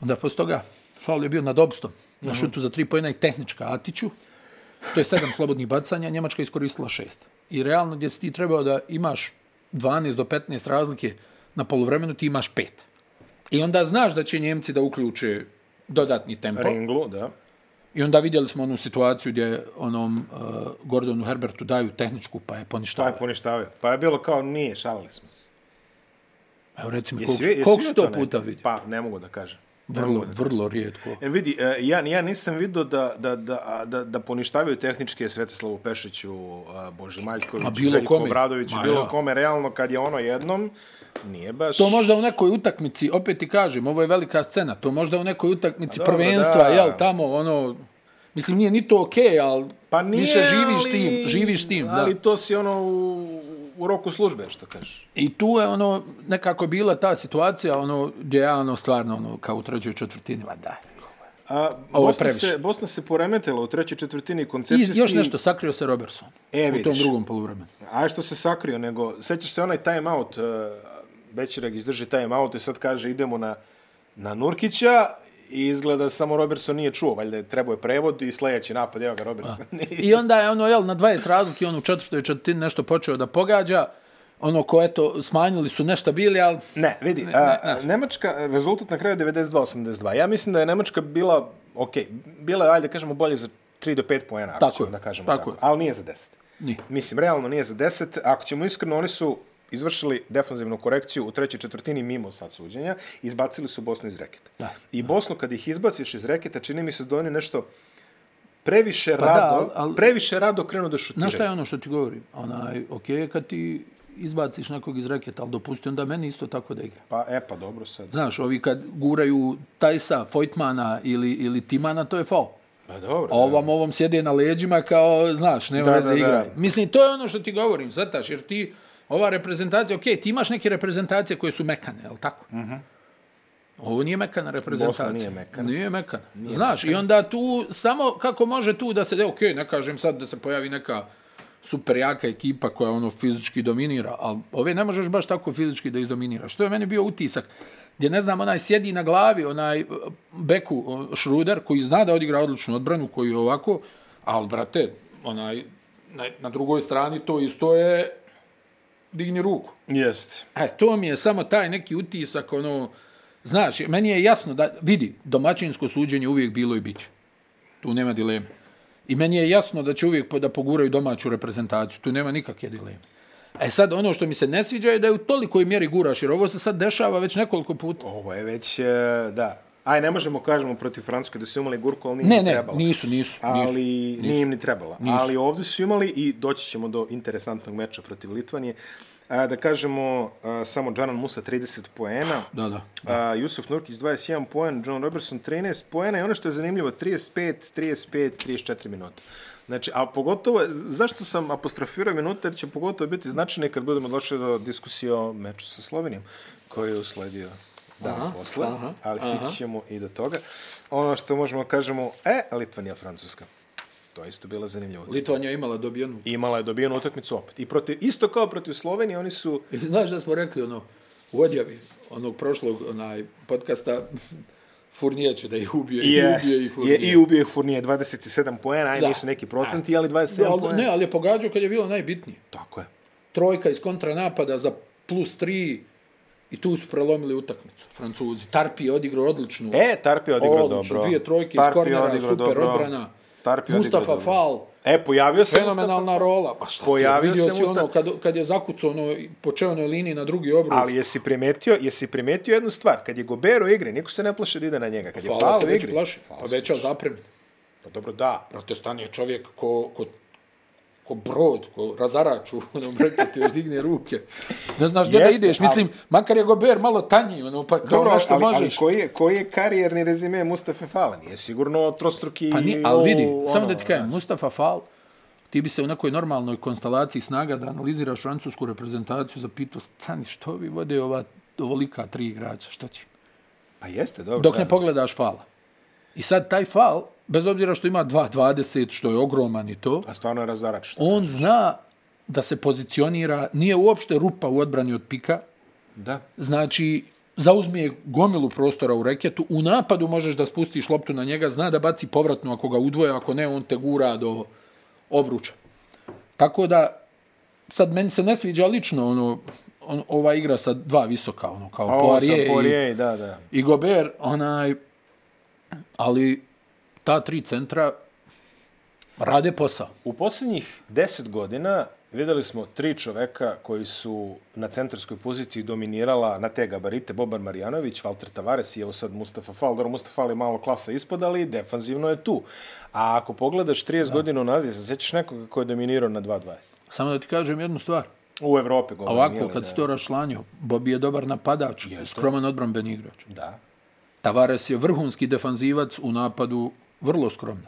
S1: Onda posle toga, faul je bio nad obstom, na
S2: Mhm.
S1: šutu za tri pojena i tehnička Atiću, to je sedam slobodnih bacanja, Njemačka je iskoristila šest. I realno gdje si ti trebao da imaš 12 do 15 razlike na polovremenu, ti imaš pet. I onda znaš da će Njemci da uključe dodatni tempo.
S2: Ringlu, da.
S1: I onda vidjeli smo onu situaciju gdje onom uh, Gordonu Herbertu daju tehničku pa je
S2: Pa
S1: poništava.
S2: je poništavio. Pa je bilo kao nije, šalili smo se.
S1: Evo recimo,
S2: Jesi
S1: koliko,
S2: vi- jesi
S1: koliko
S2: vidio
S1: sto
S2: to
S1: puta
S2: negdje?
S1: vidio?
S2: Pa, ne mogu da kažem.
S1: Vrlo, vrlo rijetko.
S2: E, vidi, e, ja, ja nisam vidio da, da, da, da, da poništavaju tehničke Svetislavu Pešiću, a, Bože Maljkoviću,
S1: Ma, bilo
S2: Željku
S1: kome.
S2: Obradoviću,
S1: Ma,
S2: bilo
S1: ja.
S2: kome, realno kad je ono jednom, nije baš...
S1: To možda u nekoj utakmici, opet ti kažem, ovo je velika scena, to možda u nekoj utakmici
S2: Ma dobro,
S1: prvenstva,
S2: da.
S1: jel, tamo, ono, mislim, nije ni to okej, okay, ali
S2: Pa nije,
S1: više živiš
S2: ali,
S1: tim, živiš tim, da.
S2: ali to si ono u, u roku službe, što kažeš.
S1: I tu je ono nekako bila ta situacija ono gdje ja ono stvarno ono kao u trećoj četvrtini ma da.
S2: A,
S1: Ovo je
S2: Bosna,
S1: previše.
S2: se, Bosna se poremetila u trećoj četvrtini
S1: I
S2: koncepcijski.
S1: još nešto sakrio se Robertson
S2: E,
S1: u
S2: vidiš.
S1: tom drugom poluvremenu.
S2: A što se sakrio, nego, sećaš se onaj time out, uh, Bećirag izdrži time out i sad kaže idemo na, na Nurkića i izgleda samo Robertson nije čuo, valjda je trebao je prevod i sledeći napad, evo ga Robertson.
S1: I onda je ono jel na 20 razlike on u četvrtoj četvrtini nešto počeo da pogađa. Ono ko eto smanjili su nešto bili, ali
S2: ne, vidi, ne, a, a, Nemačka, rezultat na kraju 92-82. Ja mislim da je Nemačka bila, ok, bila je, ajde kažemo, bolje za 3 do 5 poena, ako
S1: Tako
S2: ćemo
S1: je,
S2: da kažemo
S1: tako
S2: tako,
S1: je.
S2: ali nije za 10.
S1: Nije.
S2: Mislim, realno nije za 10. Ako ćemo iskreno, oni su izvršili defanzivnu korekciju u trećoj četvrtini mimo sad suđenja, izbacili su Bosnu iz reketa.
S1: Da.
S2: I Bosnu, kad ih izbaciš iz reketa, čini mi se da oni nešto previše
S1: Pa da,
S2: rado,
S1: al- al-
S2: previše rado krenu da
S1: znaš
S2: šutiraju.
S1: šta je ono što ti govorim? Onaj, okej, kad ti izbaciš nekog iz reketa, ali dopusti onda meni isto tako da igra.
S2: Pa, e, pa dobro sad.
S1: Znaš, ovi kad guraju Tajsa, Fojtmana ili, ili Timana, to je faul.
S2: Pa dobro.
S1: A ovam ovom sjede na leđima kao, znaš, nema
S2: Da,
S1: da, veze
S2: da,
S1: da,
S2: da.
S1: igra. Mislim, to je ono što ti govorim, zataš, jer ti, ova reprezentacija, okej, ti imaš neke reprezentacije koje su mekane, je li tako? Mm -hmm. Ovo nije mekana reprezentacija.
S2: Bosna nije mekana.
S1: Nije mekana. Nije znaš, mekana. i onda tu, samo kako može tu da se, e, okej, ne kažem sad da se pojavi neka super jaka ekipa koja ono fizički dominira, ali ove ne možeš baš tako fizički da izdominiraš. Što je meni bio utisak? Gdje, ne znam, onaj sjedi na glavi, onaj eh, Beku eh, Šruder, koji zna da odigra odličnu odbranu, koji je ovako, ali, brate, onaj, na, na drugoj strani to isto je digni ruku.
S2: Jeste.
S1: E, to mi je samo taj neki utisak, ono, znaš, meni je jasno da, vidi, domaćinsko suđenje uvijek bilo i bit će. Tu nema dileme. I meni je jasno da će uvijek po- da poguraju domaću reprezentaciju. Tu nema nikakve dileme. E sad, ono što mi se ne sviđa je da je u tolikoj mjeri guraš, jer ovo se sad dešava već nekoliko puta.
S2: Ovo je već, e, da. Aj, ne možemo, kažemo, protiv Francuske da su imali gurku, ali nije
S1: Ne,
S2: im
S1: ne,
S2: trebalo.
S1: nisu, nisu. nisu.
S2: ali nije im ni trebala. Ali ovdje su imali i doći ćemo do interesantnog meča protiv Litvanije. A, da kažemo, a, samo Džanan Musa 30 poena,
S1: Da, da.
S2: a, Jusuf Nurkić 21 poen, John Robertson 13 poena i ono što je zanimljivo 35, 35, 34 minuta. Znači, a pogotovo, je- zašto sam apostrofirao minuta, jer će pogotovo biti značajne kad budemo došli do diskusije o meču sa Slovenijom, koji je usledio dan aha, posle, aha,
S1: aha,
S2: ali stići ćemo i do toga. Ono što možemo da kažemo, e, Litvanija, Francuska. To je isto bila zanimljivo.
S1: Litvanija je imala dobijenu.
S2: Imala je dobijenu utakmicu opet. I protiv, isto kao protiv Slovenije, oni su
S1: I znaš da smo rekli ono, u odjavi onog prošlog onaj, podcasta, Furnije će da ih ubije, i
S2: Jest,
S1: ubije i
S2: je,
S1: Furnije.
S2: i ubio je Furnije 27 poena, aj
S1: Da.
S2: nisu neki procenti, ali 27
S1: Da, ali,
S2: poena.
S1: ne, ali je pogađao kad je bilo najbitnije.
S2: Tako je.
S1: Trojka iz kontranapada za plus tri i tu su prelomili utakmicu. Francuzi. Tarpi je odigrao odličnu.
S2: E, Tarpi je odigrao
S1: Odlično,
S2: dobro.
S1: dvije trojke iz
S2: Tarpi je
S1: kornera,
S2: odigrao
S1: super odbrana.
S2: Tarpi je odigrao
S1: Mustafa
S2: dobro.
S1: Fall.
S2: E, pojavio se Mustafa
S1: Fenomenalna
S2: Fall.
S1: rola. Pa šta ti,
S2: Pojavio
S1: vidio
S2: se
S1: si
S2: Mustafa-
S1: ono kad, kad je zakucao ono po čevnoj liniji na drugi obruč.
S2: Ali jesi primetio, jesi primetio jednu stvar, kad je Gober u igri, niko se ne plaše da ide na njega, kad je
S1: Fala
S2: Fall
S1: se
S2: u
S1: već
S2: igri.
S1: plaši.
S2: Fall
S1: Pa
S2: se-
S1: veća zapremina.
S2: Pa dobro, da.
S1: Protestan je čovjek ko, ko, ko brod, ko razarač u onom brku ti još digne ruke. Ne znaš gdje da
S2: Jeste,
S1: ideš, mislim, makar je Gober malo tanji, ono, pa kao
S2: Dobro,
S1: nešto
S2: ali, ali
S1: možeš.
S2: koji je, koji je karijerni rezime Mustafa Fala? Nije sigurno trostruki...
S1: Pa ni, ali vidi,
S2: o,
S1: samo
S2: ono,
S1: da ti kažem, Mustafa Fal, ti bi se u nekoj normalnoj konstelaciji snaga da analiziraš francusku reprezentaciju, zapitao, stani, što vi vode ova ovolika tri igrača, što će?
S2: Pa jeste, dobro.
S1: Dok
S2: da.
S1: ne pogledaš Fala. I sad taj Fal, bez obzira što ima 2.20, što je ogroman i to,
S2: A Pa stvarno je razarač.
S1: on zna da se pozicionira, nije uopšte rupa u odbrani od pika,
S2: Da.
S1: znači zauzmije gomilu prostora u reketu, u napadu možeš da spustiš loptu na njega, zna da baci povratnu ako ga udvoje, ako ne, on te gura do obruča. Tako da, sad meni se ne sviđa lično ono, on, ova igra sa dva visoka, ono, kao
S2: A Pa ovo sam
S1: Poirier, i,
S2: Poirier, da, da.
S1: i Gober, onaj, ali ta tri centra, Rade posao.
S2: U posljednjih deset godina videli smo tri čoveka koji su na centarskoj poziciji dominirala na te gabarite Boban Marjanović, Valter Tavares i evo sad Mustafa Fal. Dobro, Mustafa Fal je malo klasa ispod, ali defanzivno je tu. A ako pogledaš 30 da. godina unazije, se sećaš nekoga koji je dominirao na 2-20?
S1: Samo da ti kažem jednu stvar.
S2: U Evropi govorim.
S1: Ovako,
S2: jeli,
S1: kad
S2: da.
S1: se to rašlanju, Bobi je dobar napadač,
S2: Jeste.
S1: skroman odbranben igrač.
S2: Da.
S1: Tavares je vrhunski defanzivac u napadu, vrlo skromno.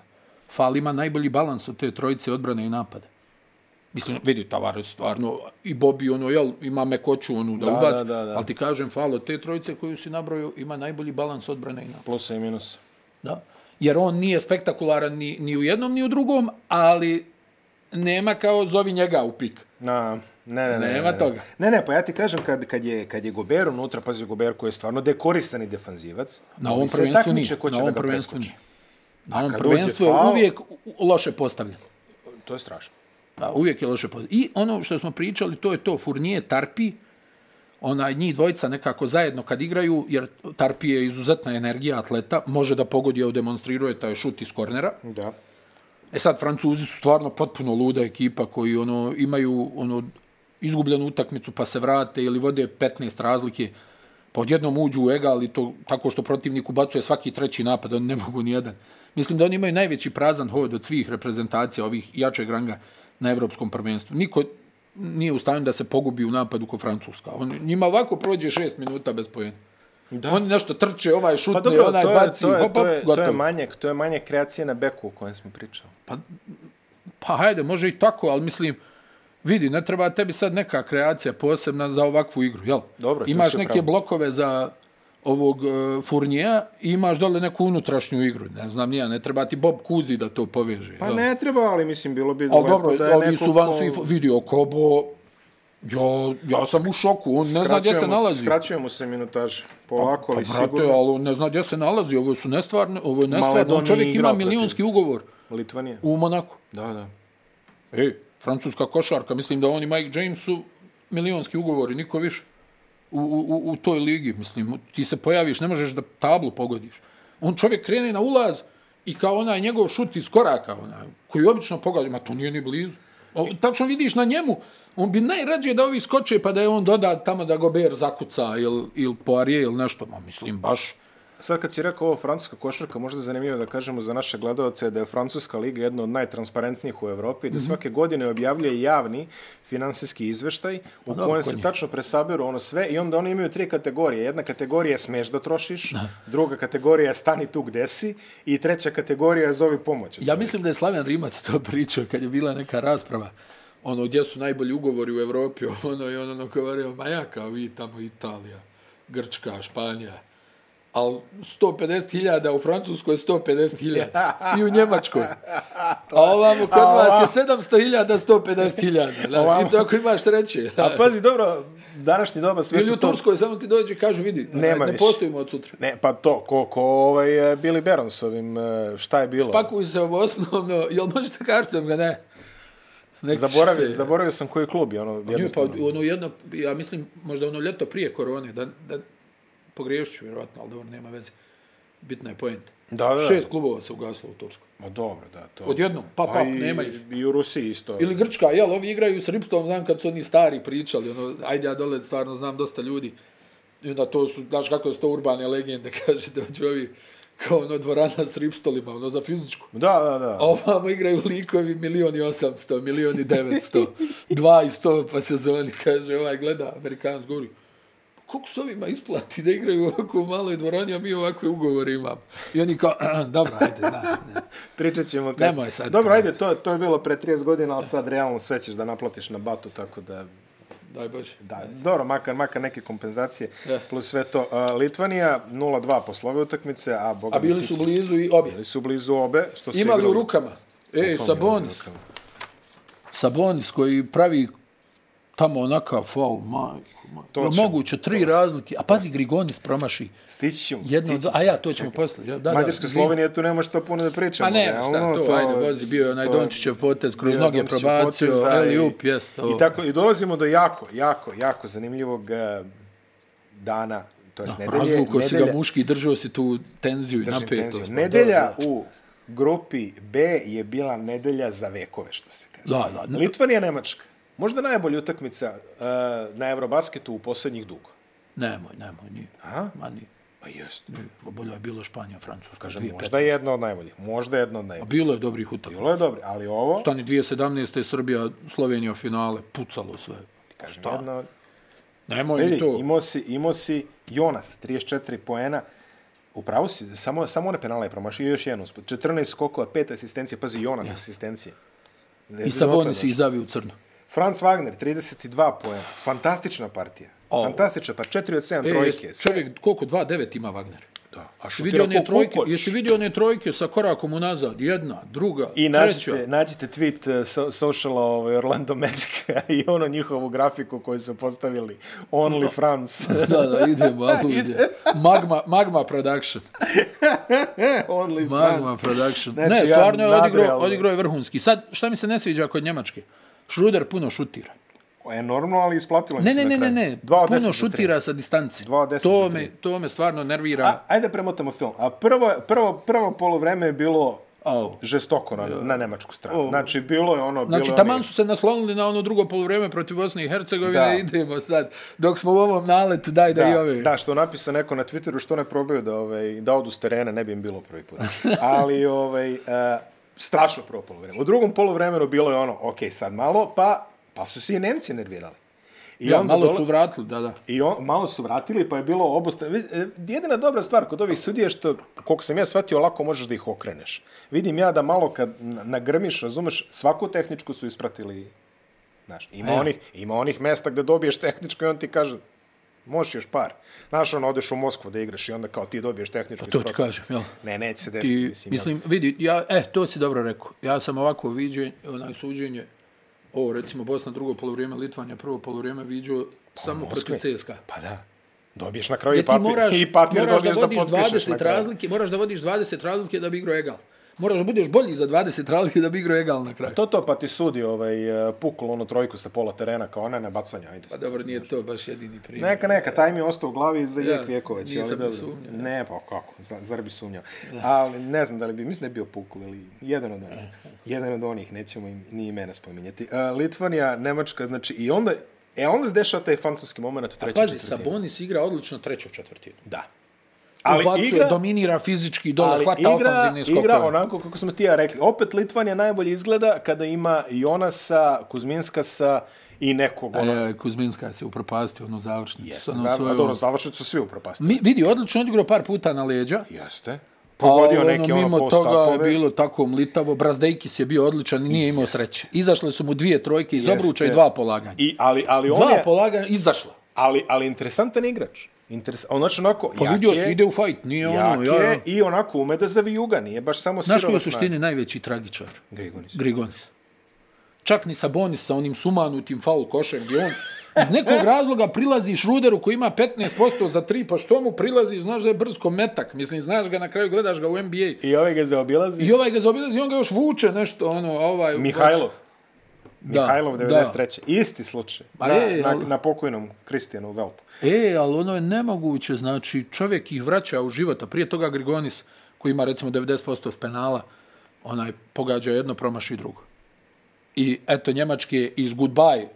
S1: Fal ima najbolji balans od te trojice odbrane i napada. Mislim, vidi, Tavares stvarno, i Bobi, ono, jel, ima mekoću, onu, da,
S2: Da,
S1: ubac,
S2: da, da, da.
S1: ali ti kažem, Fal od te trojice koju si nabrojio, ima najbolji balans odbrane i napada.
S2: Plusa i minusa.
S1: Da. Jer on nije spektakularan ni, ni u jednom, ni u drugom, ali nema kao zovi njega u pik.
S2: Na, ne, ne, ne.
S1: Nema
S2: ne, ne.
S1: toga.
S2: Ne, ne, pa ja ti kažem, kad, kad, je, kad je Gober unutra, pazi Gober koji je stvarno dekorisani defanzivac,
S1: Na
S2: ali
S1: ovom
S2: se
S1: prvenstvu
S2: takmiče
S1: nije.
S2: ko će
S1: Na
S2: da
S1: ovom
S2: ga
S1: prvenstvu
S2: preskoči.
S1: nije. Na ovom
S2: kad
S1: prvenstvu
S2: dođe
S1: je
S2: faul-
S1: uvijek u- loše postavljen.
S2: To je strašno.
S1: Da, uvijek je loše postavljen. I ono što smo pričali, to je to. Furnije, Tarpi, onaj njih dvojica nekako zajedno kad igraju, jer Tarpi je izuzetna energija atleta, može da pogodi, evo demonstriruje taj šut iz kornera.
S2: Da.
S1: E sad, Francuzi su stvarno potpuno luda ekipa koji ono imaju ono izgubljenu utakmicu pa se vrate ili vode 15 razlike pa odjednom uđu u egal i to tako što protivnik ubacuje svaki treći napad, oni ne mogu ni jedan. Mislim da oni imaju najveći prazan hod od svih reprezentacija ovih jačeg ranga na evropskom prvenstvu. Niko nije u stanju da se pogubi u napadu ko Francuska. On, njima ovako prođe šest minuta bez pojena. Da. Oni nešto trče, ovaj šutne,
S2: Pa dobro,
S1: onaj
S2: to je,
S1: baci,
S2: to, je,
S1: hopa,
S2: to, je, to, je
S1: gotovo.
S2: manjak, to je manjak kreacije na beku o kojem smo pričali.
S1: Pa, pa hajde, može i tako, ali mislim, vidi, ne treba tebi sad neka kreacija posebna za ovakvu igru, jel?
S2: Dobro, tu
S1: imaš
S2: si u
S1: neke
S2: pravu.
S1: blokove za ovog e, Furnija i imaš dole neku unutrašnju igru, ne znam nija, ne treba ti Bob Kuzi da to poveže.
S2: Pa
S1: jel?
S2: ne treba, ali mislim, bilo bi
S1: Ali dobro,
S2: da je
S1: ovi
S2: neko
S1: su van
S2: ko-
S1: svih, vidio Kobo, ja, ja sam u šoku, on ne zna gdje se
S2: skraćujemo-
S1: nalazi.
S2: Skraćujemo se minutaže, polako, ali
S1: Pa Brate,
S2: sigurno.
S1: ali on ne zna gdje se nalazi, ovo su nestvarne, ovo je nestvarno,
S2: Maradona
S1: on čovjek
S2: nije
S1: ima
S2: igrao
S1: milionski ugovor
S2: Litvanija.
S1: u Monaku.
S2: Da, da.
S1: E, francuska košarka, mislim da oni Mike Jamesu milionski ugovori, niko više u, u, u- u toj ligi, mislim, ti se pojaviš, ne možeš da tablu pogodiš. On čovjek krene na ulaz i kao onaj njegov šut iz koraka, onaj, koji obično pogađa, ma to nije ni blizu. O, tačno vidiš na njemu, on bi najrađe da ovi skoče pa da je on doda tamo da Gober zakuca ili il Poirier ili nešto, ma mislim baš,
S2: Sad kad si rekao ovo francuska košarka, možda je zanimljivo da kažemo za naše gledalce da je francuska liga jedna od najtransparentnijih u Evropi
S1: Mhm.
S2: i da svake godine objavljuje javni finansijski izveštaj u
S1: Pa dobro,
S2: kojem
S1: ko
S2: se
S1: nije?
S2: tačno presaberu ono sve i onda oni imaju tri kategorije. Jedna kategorija je smeš da trošiš, druga kategorija je stani tu gde si i treća kategorija je zovi pomoć.
S1: Ja mislim da je Slaven Rimac to pričao kad je bila neka rasprava ono gdje su najbolji ugovori u Evropi, ono i ono, ono govorio, ma ja kao vi tamo Italija, Grčka, Španija, ali 150.000 u Francuskoj, 150.000 i u Njemačkoj. A ovamo kod vas je 700.000, 150.000. Znaš, i to ako imaš sreće.
S2: A pazi, dobro, današnji doba sve
S1: Ili
S2: se
S1: u
S2: to...
S1: Turskoj, samo ti dođe i kažu, vidi,
S2: Nema
S1: ne
S2: više.
S1: postojimo od sutra.
S2: Ne, pa to, ko, ko ovaj, eh, Billy Barron s ovim, eh, šta je bilo?
S1: Pakuju se ovo osnovno, jel možete kartom ga, ne? Nek
S2: Zaboravio,
S1: čekaju.
S2: zaboravio sam koji klub je ono
S1: Nju, pa
S2: jednostavno.
S1: ono jedno, ja mislim, možda ono ljeto prije korone, da, da pogriješću vjerovatno, ali dobro, nema veze. Bitna je pojenta.
S2: Da, da, da.
S1: Šest klubova se ugaslo u Turskoj.
S2: Ma dobro, da, to.
S1: Odjednom, pa, pa,
S2: i,
S1: nema ih.
S2: I u Rusiji isto.
S1: Ili Grčka, jel, ovi igraju s Ripstom, znam kad su oni stari pričali, ono, ajde ja dole stvarno znam dosta ljudi. I onda to su, znaš kako su to urbane legende, kaže, dođu ovi, kao ono dvorana s Ripstolima, ono za fizičku.
S2: Da, da, da.
S1: A ovamo igraju likovi milion i osamsto, milion i devetsto, dva i sto pa sezoni, kaže, ovaj gleda, Amerikanac govori, "Pa koliko se ovima isplati da igraju ovako u maloj dvorani, a mi ovakve ugovore imamo. I oni kao, "Ah, dobro, ajde, znaš, ne.
S2: Pričat ćemo kad...
S1: Nemoj sad.
S2: Dobro, ajde, to, to je bilo pre 30 godina, ali sad realno sve ćeš da naplatiš na batu, tako da...
S1: daj Bože.
S2: Da, dobro, makar, makar neke kompenzacije,
S1: Eh.
S2: plus sve to. A, Litvanija 0-2 poslove utakmice, a Boga
S1: A bili su blizu i obje.
S2: Bili su blizu obe, što su
S1: Imali
S2: igrali.
S1: u rukama. Ej,
S2: Kom je
S1: Sabonis.
S2: rukama?
S1: Sabonis koji pravi tamo onakav faul, majko, majko.
S2: Točno.
S1: Moguće, tri razlike. A pazi, Grigonis promaši.
S2: Stići ćemo.
S1: Jedno,
S2: stići
S1: dva- a ja, to ćemo poslije. Ja, Da, da,
S2: Mađarska,
S1: Grig-
S2: Slovenija, tu nema što puno da pričamo.
S1: Pa ne, šta
S2: realno,
S1: to, ajde, vozi, bio je onaj
S2: to je-
S1: Dončićev potez, kroz
S2: Bio
S1: noge
S2: Dončićev
S1: probacio,
S2: potez, da, i-
S1: ali up, jest, ovo.
S2: I tako i dolazimo do jako, jako, jako zanimljivog eh, dana, to jest nedelje.
S1: Razvukao si
S2: nedelja-
S1: ga muški, držao si tu tenziju i
S2: držim
S1: napetost.
S2: tenziju.
S1: pa
S2: Nedelja
S1: dobro.
S2: u grupi B je bila nedelja za vekove, što se kaže.
S1: Da, da.
S2: Litvanija, Nemačka. Možda najbolja utakmica uh, na Eurobasketu u posljednjih dugo.
S1: Nemoj, nemoj, nije.
S2: A?
S1: Ma nije.
S2: Pa jest.
S1: nije. Pa Bolje je bilo Španija, Francuska.
S2: Kažem,
S1: 2015.
S2: možda je jedna od najboljih. Možda je jedna od
S1: A
S2: najboljih.
S1: bilo je dobrih utakmica.
S2: Bilo je dobro, ali ovo...
S1: Stani 2017. Srbija, Slovenija finale, pucalo sve.
S2: Kažem, jedna od...
S1: Nemoj ni
S2: Vidi,
S1: to.
S2: imao si, imao si Jonas, 34 poena. Upravo si, samo, samo one penale je promašio i još jednu. usput. 14 skokova, pet asistencije. Pazi, Jonas asistencije.
S1: I Sabonis i Zavi u crno.
S2: Franz Wagner, 32 poena. Fantastična partija.
S1: Ovo.
S2: Fantastična pa 4 od 7
S1: E,
S2: trojke.
S1: jes- čovjek, koliko? 2-9 ima Wagner.
S2: Da. A
S1: Jesi vidio one trojke,
S2: kukolj.
S1: jesi vidio one trojke sa korakom unazad, jedna, druga,
S2: I
S1: treća.
S2: nađite, nađite tweet uh, so, sociala ovaj, Orlando Magica i ono njihovu grafiku koju su postavili. Only France.
S1: Da, da, idemo, aluzija. Magma, Magma Production.
S2: Only
S1: Magma
S2: France.
S1: Production.
S2: Znači,
S1: ne,
S2: ja
S1: stvarno je odigrao,
S2: nadrealno.
S1: odigrao je vrhunski. Sad, šta mi se ne sviđa kod Njemačke? Šruder puno šutira.
S2: Enormno, ali isplatilo im
S1: Ne, ne,
S2: se Pa na
S1: ne, ne,
S2: kraju.
S1: ne.
S2: Dva od deset
S1: Puno
S2: do tri.
S1: šutira sa distance.
S2: Dva od deset
S1: To
S2: za tri.
S1: me, to me stvarno nervira.
S2: A, ajde da premotamo film. A prvo, prvo, prvo polovreme je bilo
S1: Au.
S2: žestoko na, na nemačku stranu. Znači, bilo je ono...
S1: Znači,
S2: bilo je
S1: taman
S2: onih-
S1: su se naslonili na ono drugo polovrijeme protiv Bosne i Hercegovine,
S2: Da.
S1: idemo sad. Dok smo u ovom naletu, daj da, i ove.
S2: Da, što napisa neko na Twitteru, što ne probaju da, ovaj, da odu s terena, ne bi im bilo prvi put. Ali, ovaj, e, strašno prvo polovreme. U drugom polovremenu bilo je ono, ok, sad malo, pa, pa su se i Nemci nervirali. I
S1: ja,
S2: onda
S1: malo
S2: dola-
S1: su vratili, da, da.
S2: I on, malo su vratili, pa je bilo obostrano. Viz- e, Jedina dobra stvar kod ovih sudija je što, koliko sam ja shvatio, lako možeš da ih okreneš. Vidim ja da malo kad na- nagrmiš, razumeš, svaku tehničku su ispratili. Znaš, ima,
S1: Ja.
S2: onih, ima onih mesta gde dobiješ tehničku i on ti kaže, možeš još par. Znaš, ono, odeš u Moskvu da igraš i onda kao ti dobiješ tehničku.
S1: Pa to ti
S2: ispratiš.
S1: kažem, jel?
S2: Ne, neće se desiti.
S1: I,
S2: mislim, jel?
S1: mislim, vidi, ja, eh, to si dobro rekao. Ja sam ovako viđen, onaj suđenje, ovo recimo Bosna drugo polovrijeme, Litvanija prvo polovrijeme viđao samo
S2: Moskve.
S1: protiv CSKA.
S2: Pa da. Dobiješ na kraju
S1: Jer
S2: i
S1: E, ti
S2: papir.
S1: moraš,
S2: I papir
S1: moraš da
S2: dobiješ da,
S1: vodiš
S2: potpišeš
S1: 20
S2: na kraju.
S1: razlike, moraš da vodiš 20 razlike da bi igrao egal. Moraš da budeš bolji za 20 razlike da bi igrao egal na kraju.
S2: To to, pa ti sudi ovaj, e, puklo onu trojku sa pola terena kao ona na bacanje, ajde.
S1: Pa dobro, nije to baš jedini primjer.
S2: Neka, neka, taj mi je ostao u glavi za
S1: Ja,
S2: vijek vjekova. će,
S1: nisam
S2: ali
S1: ni
S2: dobro.
S1: sumnjao, da.
S2: Ne, pa kako, za- zar bi sumnjao. Ali ne znam da li bi, mislim da je bio pukli ili jedan od onih. Jedan od onih, nećemo im ni imena spominjati. Uh, Litvanija, Nemačka, znači, i onda, e, onda se dešava taj fantomski moment u trećoj
S1: Pazi,
S2: četvrtini.
S1: Sabonis igra odlično treću četvrtinu.
S2: Da.
S1: Ali
S2: Ali igra,
S1: dominira fizički dole,
S2: ali
S1: hvata
S2: igra,
S1: ofanzivne skokove.
S2: igra onako kako smo ti ja rekli. Opet Litvanija najbolje izgleda kada ima Jonasa, Kuzminskasa i nekog ono.
S1: E, Kuzminska se upropastio ono završnicu.
S2: Jeste,
S1: sa onom
S2: zav, a
S1: svojom-
S2: dobro, završit su svi upropastili.
S1: Mi, vidi, odlično odigrao par puta na leđa.
S2: Jeste.
S1: Pa
S2: Pogodio
S1: ono,
S2: neke ono
S1: mimo toga je
S2: postapove.
S1: bilo tako mlitavo. Brazdejkis je bio odličan i nije imao sreće. Izašle su mu dvije trojke iz obruča i
S2: Jeste.
S1: dva polaganja.
S2: I, ali, ali on
S1: dva
S2: je,
S1: polaganja izašla.
S2: ali, ali interesantan igrač. Interes, on znači onako,
S1: Pa
S2: jak
S1: vidio
S2: je,
S1: si, ide u fajt, nije ono,
S2: jak
S1: ja, ja.
S2: je i onako ume da zavijuga, nije baš samo
S1: Znaš ko je
S2: sirova
S1: u suštini najveći tragičar?
S2: Grigonić.
S1: Grigonis. Čak ni Sabonis sa onim sumanutim faul košem gdje on iz nekog razloga prilazi Šruderu koji ima 15% za tri, pa što mu prilazi, znaš da je brz ko metak, mislim, znaš ga na kraju, gledaš ga u NBA.
S2: I ovaj ga zaobilazi.
S1: I ovaj ga zaobilazi, i on ga još vuče nešto, ono, ovaj...
S2: Mihajlov.
S1: da,
S2: Mihajlov
S1: da.
S2: 93. Isti slučaj.
S1: Ma
S2: na,
S1: je,
S2: na,
S1: ali-
S2: na pokojnom Kristijanu Velpu.
S1: E, ali ono je nemoguće, znači čovjek ih vraća u život, a prije toga Grigonis, koji ima recimo 90% s penala, onaj pogađa jedno, promaši drugo. I eto, Njemački je iz Goodbye,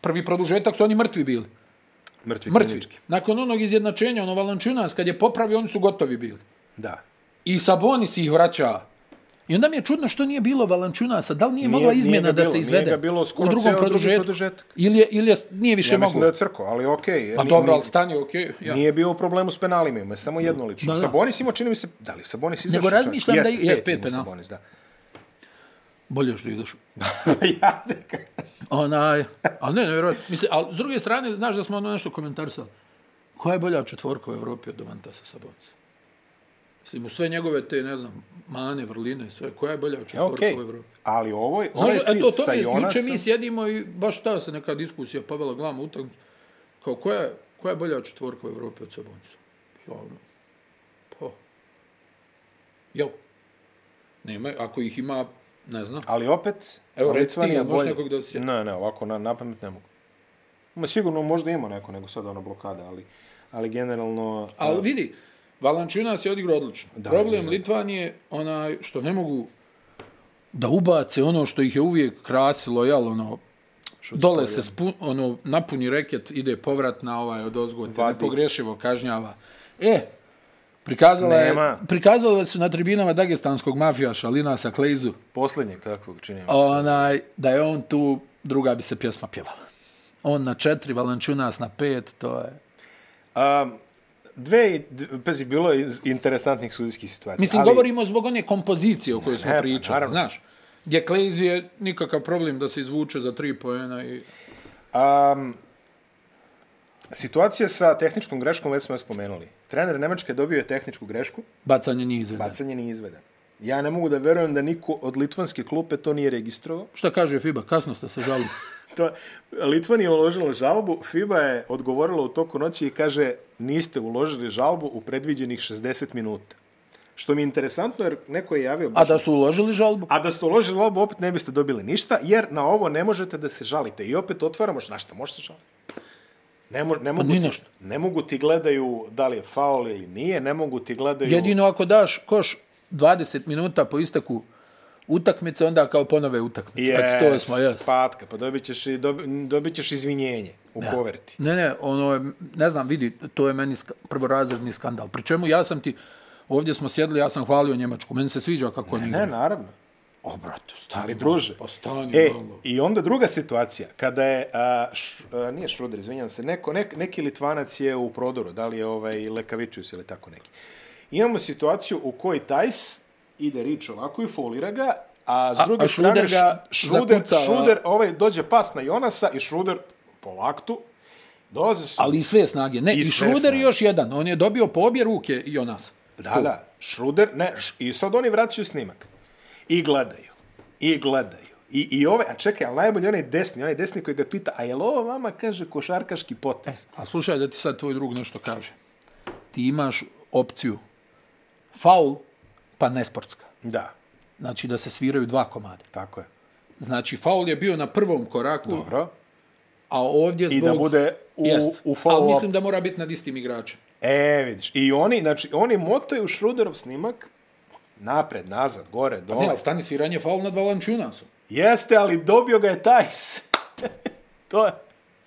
S1: prvi produžetak su oni mrtvi bili.
S2: Mrtvi,
S1: Mrtvi.
S2: klinički.
S1: Nakon onog izjednačenja, ono Valančunas, kad je popravio, oni su gotovi bili.
S2: Da.
S1: I Sabonis ih vraća. I onda mi je čudno što nije bilo Valančunasa, da li nije,
S2: Nije-
S1: mogla
S2: nije ga
S1: izmjena da
S2: bilo,
S1: se
S2: nije
S1: izvede
S2: ga bilo skoro
S1: u drugom
S2: ceo drugi
S1: produžetku.
S2: produžetak.
S1: Ili je, ili je, nije više
S2: Ja
S1: moglo.
S2: mislim da je crko, ali okej.
S1: Pa
S2: ni-
S1: dobro,
S2: ni-
S1: ali stanje, okej. Okay, ja.
S2: Nije bio u problemu s penalima, ima je samo jedno lično.
S1: Da, da.
S2: Sabonis imao, čini mi se, da li je Sabonis izašao?
S1: Nego
S2: čak?
S1: razmišljam da
S2: Jeste,
S1: i- jest,
S2: pet
S1: pet
S2: imao
S1: penala.
S2: Sabonis, da. Pa
S1: Bolje što je izašao.
S2: ja te kažem.
S1: Onaj, ali ne, nevjerojatno. Mislim, ali s druge strane, znaš da smo ono nešto komentarisali. Koja je bolja četvorka u Evropi od Domantasa Sabonisa? Mislim, u sve njegove te, ne znam, mane, vrline, sve, koja je
S2: E,
S1: bolja četvorka
S2: Okej,
S1: u Evropi?
S2: ali ovo je, ovo
S1: Znaš,
S2: je
S1: eto,
S2: fit
S1: to
S2: sa
S1: mi je, juče
S2: Jonasom.
S1: mi sjedimo i baš ta se neka diskusija povela glavom u utakmicu. Kao, koja je, koja je bolja četvorka u Evropi od Sabonisa? Ja, ono, pa, jel? Nema, ako ih ima, ne znam.
S2: Ali opet,
S1: Evo, reci ti,
S2: Litvanija
S1: jel možeš
S2: bolje-
S1: nekog da se sjeti?
S2: Ne, ne, ovako na, na pamet ne mogu. Ma sigurno možda ima neko, nego sad ono blokada, ali, ali generalno...
S1: Ali vidi, Valančinas je odigrao odlično.
S2: Da,
S1: Problem
S2: da.
S1: Litvanije, onaj, što ne mogu da ubace ono što ih je uvijek krasilo, jel, ono, dole se spu, ono, napuni reket, ide povrat na ovaj od ozgod,
S2: Vadi.
S1: nepogrešivo kažnjava. E, prikazala, je,
S2: Nema.
S1: prikazala su na tribinama dagestanskog mafijaša Linasa Klejzu,
S2: Poslednjeg takvog činjenja.
S1: onaj, da je on tu, druga bi se pjesma pjevala. On na četiri, Valančunas na pet, to je...
S2: Um, dve, d- pazi, bilo je iz- interesantnih sudijskih situacija.
S1: Mislim,
S2: ali-
S1: ali... govorimo zbog one kompozicije o kojoj smo
S2: Ne, pa,
S1: pričali,
S2: naravno.
S1: znaš. Gdje Klejz je nikakav problem da se izvuče za tri poena i...
S2: Um, situacija sa tehničkom greškom, već smo je spomenuli. Trener Nemačke dobio je tehničku grešku,
S1: Bacanje njih izvede.
S2: bacanje nije izveden. Ja ne mogu da verujem da niko od litvanske klupe to nije registrovao.
S1: Šta kaže FIBA? Kasno ste se žalili.
S2: To, Litvan je uložila žalbu, FIBA je odgovorila u toku noći i kaže niste uložili žalbu u predviđenih 60 minuta. Što mi je interesantno jer neko je javio...
S1: A
S2: baš-
S1: da su uložili žalbu?
S2: A da ste uložili žalbu opet ne biste dobili ništa jer na ovo ne možete da se žalite. I opet otvaramo, na šta može se žaliti? Ne, mo, ne, mogu
S1: Pa ni
S2: ti,
S1: na šta.
S2: ne mogu ti gledaju da li je faul ili nije, ne mogu ti gledaju...
S1: Jedino ako daš koš 20 minuta po isteku utakmice, onda kao ponove utakmice.
S2: Yes,
S1: Eto, to smo, jes.
S2: Patka, pa dobit ćeš, i dobi, dobit ćeš izvinjenje u ja. koverti.
S1: Ne, ne, ono je, ne znam, vidi, to je meni sk prvorazredni skandal. Pri čemu ja sam ti, ovdje smo sjedli, ja sam hvalio Njemačku. Meni se sviđa kako oni
S2: Ne,
S1: igraju.
S2: naravno.
S1: O, brate, stani.
S2: Ali druže,
S1: Pa stani,
S2: E,
S1: malo.
S2: i onda druga situacija, kada je, a, š, a, nije Šruder, izvinjam se, neko, nek, neki Litvanac je u prodoru, da li je ovaj Lekavičius ili tako neki. Imamo situaciju u kojoj Tajs ide rič ovako i folira ga, a s
S1: A-
S2: druge
S1: a
S2: strane
S1: Šruder ga
S2: Š- Šruder,
S1: zakucava.
S2: Šruder, ovaj dođe pas na Jonasa i Šruder po laktu, dolaze su...
S1: Ali i sve snage. Ne,
S2: I
S1: i, i
S2: sve
S1: Šruder
S2: snage.
S1: i još jedan. On je dobio po obje ruke i o nas.
S2: Da, da, Šruder, ne, š, i sad oni vraćaju snimak. I gledaju, i gledaju. I, i ove, a čekaj, ali najbolje onaj desni, onaj desni koji ga pita, a je li ovo vama, kaže, košarkaški potez?
S1: A slušaj da ti sad tvoj drug nešto kaže. Ti imaš opciju faul, pa nesportska.
S2: Da,
S1: Znači da se sviraju dva komada.
S2: tako je.
S1: Znači faul je bio na prvom koraku,
S2: Dobro.
S1: a ovdje zbog...
S2: I da bude u,
S1: Jest.
S2: u
S1: Ali
S2: follow-up.
S1: mislim da mora biti nad istim igračem.
S2: E, vidiš. I oni, znači, oni motaju Šruderov snimak napred, nazad, gore,
S1: Pa Ne,
S2: dole.
S1: ali stani sviranje faul nad Valančunasom.
S2: Jeste, ali dobio ga je Tajs. to je...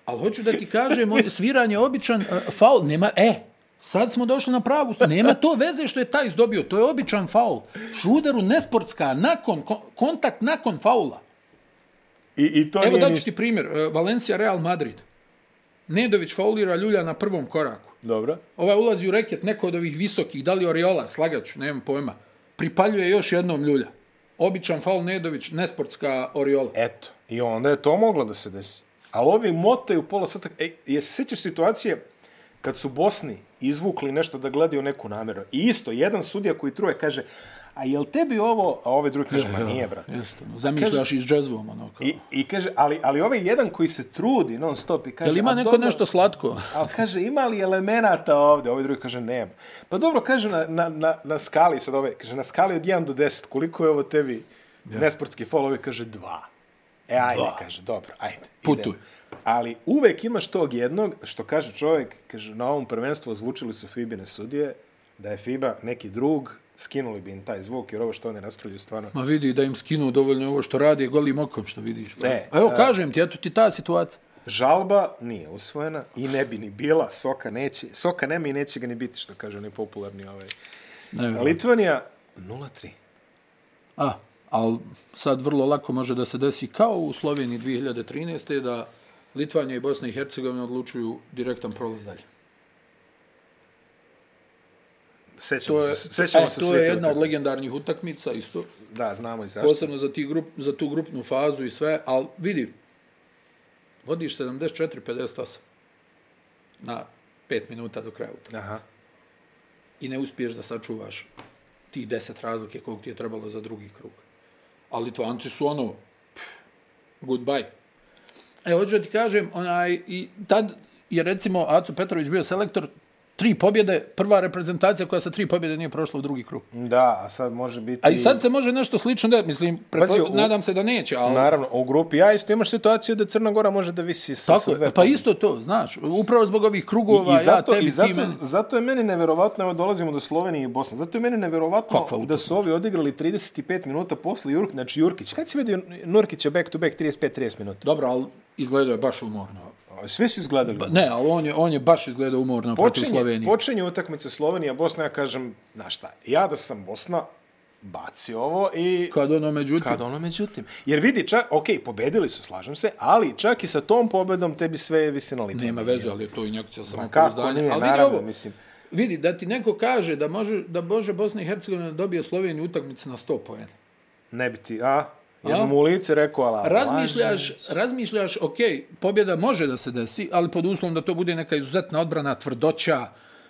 S1: Ali hoću da ti kažem, on, sviranje je običan uh, faul, nema, e, sad smo došli na pravu, nema to veze što je taj dobio, to je običan faul. Šruderu nesportska, nakon, ko- kontakt nakon faula.
S2: I, i to
S1: Evo
S2: nije
S1: daću
S2: ništa.
S1: ti primjer, uh, Valencia Real Madrid. Nedović faulira Ljulja na prvom koraku.
S2: Dobro.
S1: Ovaj ulazi u reket, neko od ovih visokih, da li Oriola, slagaću, nemam pojma. Pripaljuje još jednom Ljulja. Običan faul Nedović, nesportska Oriola.
S2: Eto, i onda je to moglo da se desi. Ali ovi motaju pola sata. E, jesi se sjećaš situacije kad su Bosni izvukli nešto da gledaju neku nameru? I isto, jedan sudija koji truje kaže, a jel tebi ovo, a ovaj drugi kaže, ma nije, brate.
S1: Jeste, ono, zamišljaš i s džezvom, ono kao.
S2: I, I kaže, ali, ali ovaj jedan koji se trudi non stop i kaže...
S1: Je li ima
S2: "A
S1: neko
S2: dobro,
S1: nešto slatko?
S2: Ali kaže, ima li elemenata ovde? Ovaj drugi kaže, nema. Pa dobro, kaže, na, na, na, na skali, sad ovaj, kaže, na skali od 1 do 10, koliko je ovo tebi ja. nesportski fol? Ovaj kaže, dva. E, ajde, dva. kaže, dobro, ajde.
S1: Putuj.
S2: idemo. Ali uvek imaš tog jednog, što kaže čovjek, kaže, na ovom prvenstvu ozvučili su Fibine sudije, da je Fiba neki drug, skinuli bi im taj zvuk, jer ovo što oni raspravljaju stvarno...
S1: Ma vidi da im skinu dovoljno ovo što radi golim okom što vidiš. Pa.
S2: Ne.
S1: Evo kažem ti, eto ti ta situacija.
S2: Žalba nije usvojena i ne bi ni bila, Soka neće, Soka nema i neće ga ni biti, što kaže onaj popularni ovaj.
S1: Ne, vjerujem.
S2: Litvanija 0-3.
S1: A, ali sad vrlo lako može da se desi kao u Sloveniji 2013. da Litvanija i Bosna i Hercegovina odlučuju direktan prolaz dalje.
S2: Sećamo
S1: To je,
S2: se, sećamo
S1: e,
S2: se
S1: to
S2: sve
S1: je
S2: te
S1: jedna od
S2: utakmice.
S1: legendarnih utakmica isto.
S2: Da, znamo i zašto.
S1: Posebno za, ti grup, za tu grupnu fazu i sve, ali vidi, vodiš 74-58 na 5 minuta do kraja utakmice.
S2: Aha.
S1: i ne uspiješ da sačuvaš ti deset razlike koliko ti je trebalo za drugi krug. A Litvanci su ono, pff, goodbye. E, hoću da ti kažem, onaj, i tad je recimo Aco Petrović bio selektor, tri pobjede, prva reprezentacija koja sa tri pobjede nije prošla u drugi krug.
S2: Da, a sad može biti...
S1: A i sad se može nešto slično, da, mislim, prepo...
S2: Pazi, u-
S1: nadam se da neće, ali...
S2: Naravno, u grupi A isto imaš situaciju da Crna Gora može da visi sa,
S1: Tako
S2: sa
S1: je,
S2: dve
S1: pa
S2: pobjede.
S1: isto to, znaš, upravo zbog ovih
S2: I,
S1: krugova,
S2: i zato,
S1: ja tebi,
S2: i zato,
S1: ti meni.
S2: zato je meni neverovatno, evo dolazimo do Slovenije i Bosne, zato je meni neverovatno
S1: Kakva
S2: da su ovi odigrali 35 minuta posle Jurk, znači Jurkić. Kad si vidio Nurkića back to back 35-30 minuta?
S1: Dobro, ali izgledao je baš umorno. Pa
S2: A, Sve su izgledali.
S1: Ne, ali on je, on je baš izgledao umorno protiv
S2: počinje,
S1: Slovenije.
S2: počinje utakmica Slovenija, Bosna, ja kažem, znaš šta, ja da sam Bosna, baci ovo i...
S1: Kad ono, međutim,
S2: Kad ono međutim. Jer vidi, čak, ok, pobedili su, slažem se, ali čak i sa tom pobedom tebi sve visi na litru.
S1: nema veze, ali je to i nekcija
S2: Kako
S1: samopouzdanja.
S2: nije,
S1: Ali vidi
S2: naravno,
S1: ovo,
S2: mislim.
S1: vidi, da ti neko kaže da, može, da Bože Bosna i Hercegovina dobije Sloveniju utakmicu na 100 pojena.
S2: Ne bi ti, a? Jednom u lice rekao, ala...
S1: Razmišljaš, razmišljaš, ok, pobjeda može da se desi, ali pod uslovom da to bude neka izuzetna odbrana, tvrdoća,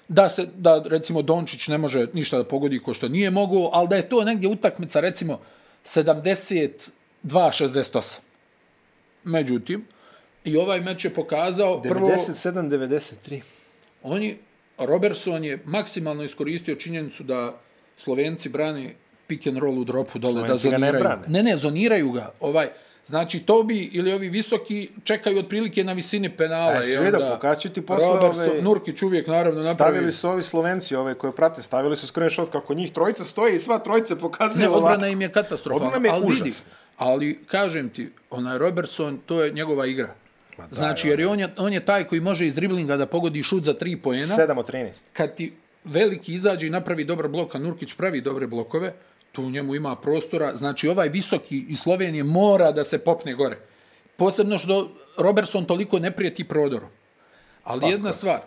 S1: da se da recimo Dončić ne može ništa da pogodi ko što nije mogu, ali da je to negdje utakmica recimo 72-68. Međutim, i ovaj meč je pokazao prvo
S2: 97-93.
S1: oni Robertson je maksimalno iskoristio činjenicu da Slovenci brane pick and roll u dropu dole
S2: Slovenci
S1: da
S2: ga ne
S1: zoniraju.
S2: brane.
S1: ne, ne, zoniraju ga. Ovaj znači Tobi ili ovi visoki čekaju otprilike na visini penala
S2: E,
S1: i
S2: sve da
S1: onda
S2: pokaću ti posle,
S1: Robertson,
S2: ovaj,
S1: Nurkić uvijek naravno napravi
S2: Stavili su ovi Slovenci, ove koje prate, stavili su screenshot kako njih trojica stoje i sva trojica pokazuje
S1: Ne,
S2: ovako.
S1: odbrana im je katastrofalna.
S2: Odbrana im je
S1: ali vidi,
S2: užasna.
S1: ali kažem ti, onaj Robertson, to je njegova igra.
S2: Ma ovaj. da,
S1: Znači, jer je on, je, on je taj koji može iz driblinga da pogodi šut za tri poena.
S2: 7 od 13.
S1: kad ti veliki izađe i napravi dobar blok, a Nurkić pravi dobre blokove, tu u njemu ima prostora. Znači, ovaj visoki iz Slovenije mora da se popne gore. Posebno što Robertson toliko ne prijeti prodorom. Ali Tako. jedna stvar,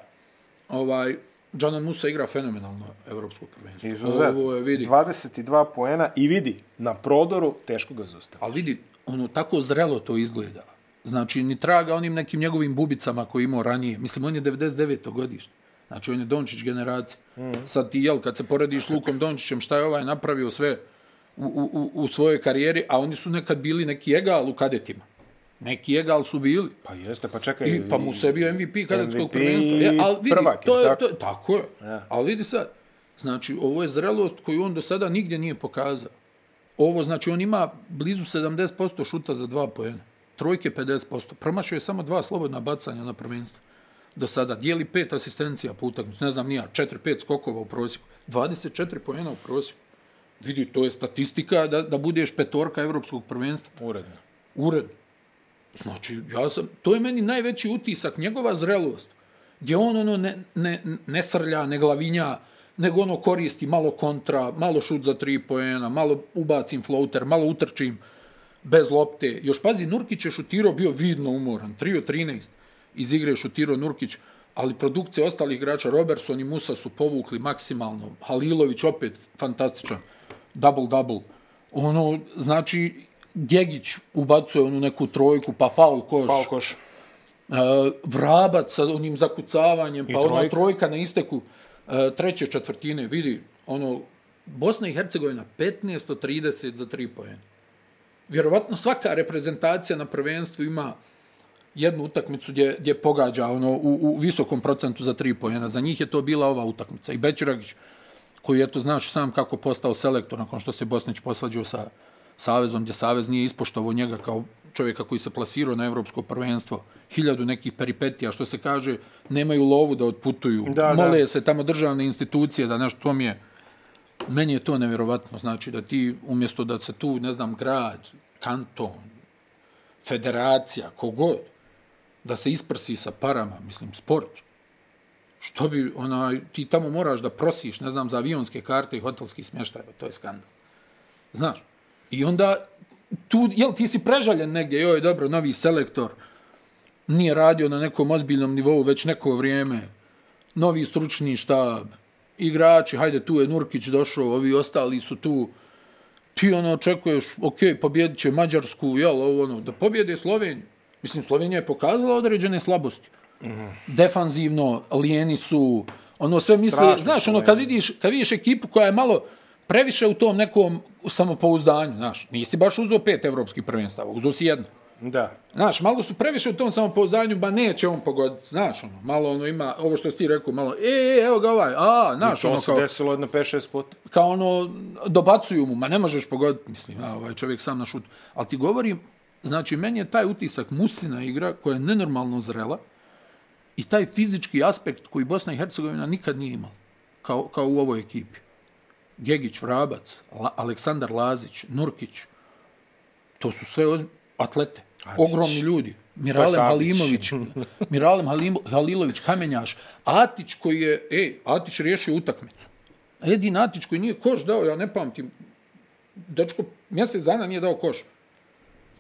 S1: ovaj, Džanan Musa igra fenomenalno evropsko prvenstvo.
S2: Izuzetno.
S1: Ovo je, vidi,
S2: 22 poena i vidi, na prodoru teško ga zaustavi.
S1: ali vidi, ono, tako zrelo to izgleda. Znači, ni traga onim nekim njegovim bubicama koje je imao ranije. Mislim, on je 99. godište. Znači, on je Dončić generacija. Mm. Sad ti, jel, kad se porediš s Lukom Dončićem, šta je ovaj napravio sve u, u, u u svojoj karijeri, a oni su nekad bili neki egal u kadetima. Neki egal su bili.
S2: Pa jeste, pa čekaj.
S1: I, pa mu se bio MVP kadetskog
S2: MVP
S1: prvenstva. Ja, ali vidi,
S2: prvak je,
S1: to je,
S2: tako?
S1: To je, tako je.
S2: Ja.
S1: Ja. Ali vidi sad, znači, ovo je zrelost koju on do sada nigdje nije pokazao. Ovo, znači, on ima blizu 70% šuta za dva pojena. Trojke 50%. Promašio je samo dva slobodna bacanja na prvenstvo. Do sada dijeli pet asistencija po utakmicu, ne znam nija, 4-5 skokova u prosjeku. 24 pojena u prosjeku. Vidi, to je statistika da, da budeš petorka evropskog prvenstva
S2: Uredno.
S1: uredno. Znači, ja sam, to je meni najveći utisak, njegova zrelost, gdje on ono ne, ne, ne srlja, ne glavinja, nego ono koristi malo kontra, malo šut za tri poena, malo ubacim floater, malo utrčim bez lopte. Još pazi, Nurkić je šutirao, bio vidno umoran, 3 od 13 iz igre je šutirao Nurkić, ali produkcije ostalih igrača, Robertson i Musa su povukli maksimalno, Halilović opet fantastičan, double-double. Ono, znači, Gjegić ubacuje onu neku trojku, pa faul koš. Faul
S2: Falkoš.
S1: E, vrabac sa onim zakucavanjem, pa ona
S2: trojka.
S1: trojka na isteku e, treće četvrtine, vidi, ono, Bosna i Hercegovina 15 od 30 za tri poena. Vjerovatno svaka reprezentacija na prvenstvu ima jednu utakmicu gdje, gdje pogađa ono, u, u visokom procentu za tri poena. Za njih je to bila ova utakmica. I Bećiragić, koji je to znaš sam kako postao selektor nakon što se Bosnić posvađao sa Savezom, gdje Savez nije ispoštovao njega kao čovjeka koji se plasirao na evropsko prvenstvo. Hiljadu nekih peripetija, što se kaže, nemaju lovu da otputuju.
S2: Da,
S1: Mole
S2: da.
S1: se tamo državne institucije da nešto to mi je... Meni je to nevjerovatno, znači da ti umjesto da se tu, ne znam, grad, kanton, federacija, kogod, da se isprsi sa parama, mislim, sport. Što bi, onaj, ti tamo moraš da prosiš, ne znam, za avionske karte i hotelski smještaj, ba, to je skandal. Znaš, i onda, tu, jel, ti si prežaljen negdje, joj, dobro, novi selektor, nije radio na nekom ozbiljnom nivou već neko vrijeme, novi stručni štab, igrači, hajde, tu je Nurkić došao, ovi ostali su tu, ti ono očekuješ, ok, pobjedit će Mađarsku, jel, ovo ono, da pobjede Sloveniju. Mislim, Slovenija je pokazala određene slabosti.
S2: Mhm.
S1: Defanzivno, lijeni su, ono sve misle,
S2: Strašno
S1: znaš,
S2: su
S1: ono, kad
S2: lijeni.
S1: vidiš, kad vidiš ekipu koja je malo previše u tom nekom samopouzdanju, znaš, nisi baš uzeo pet evropskih prvenstava, uzeo si jedno.
S2: Da.
S1: Znaš, malo su previše u tom samopouzdanju, ba neće on pogoditi, znaš, ono, malo ono ima, ovo što si ti rekao, malo, e, e, evo ga ovaj, a, znaš,
S2: To
S1: ono,
S2: se
S1: kao,
S2: desilo jedno 5-6 puta.
S1: kao ono, dobacuju mu, ma ne možeš pogoditi, mislim, a, ovaj čovjek sam na šut. Ali ti govorim, znači, meni je taj utisak Musina igra koja je nenormalno zrela i taj fizički aspekt koji Bosna i Hercegovina nikad nije imala, kao, kao u ovoj ekipi. Gegić, Vrabac, La, Aleksandar Lazić, Nurkić, to su sve oz... atlete,
S2: Atić.
S1: ogromni ljudi. Miralem
S2: Savić.
S1: Halimović, Miralem Halim, Halilović, Kamenjaš, Atić koji je, ej, Atić riješio utakmicu. Edin Atić koji nije koš dao, ja ne pamtim, dečko mjesec dana nije dao koš.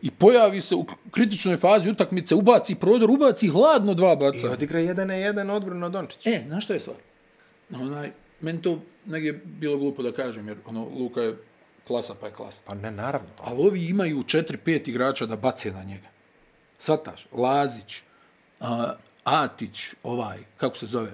S1: I pojavi se u kritičnoj fazi utakmice, ubaci prodor, ubaci hladno dva
S2: I
S1: baca.
S2: odigra 1 na 1 odbranu od Dončića.
S1: E, znaš što je stvar? Onaj, meni to negdje bilo glupo da kažem, jer ono, Luka je klasa pa je klasa.
S2: Pa ne, naravno.
S1: Ali ovi imaju 4-5 igrača da bace na njega. Sataš, Lazić, a, Atić, ovaj, kako se zove,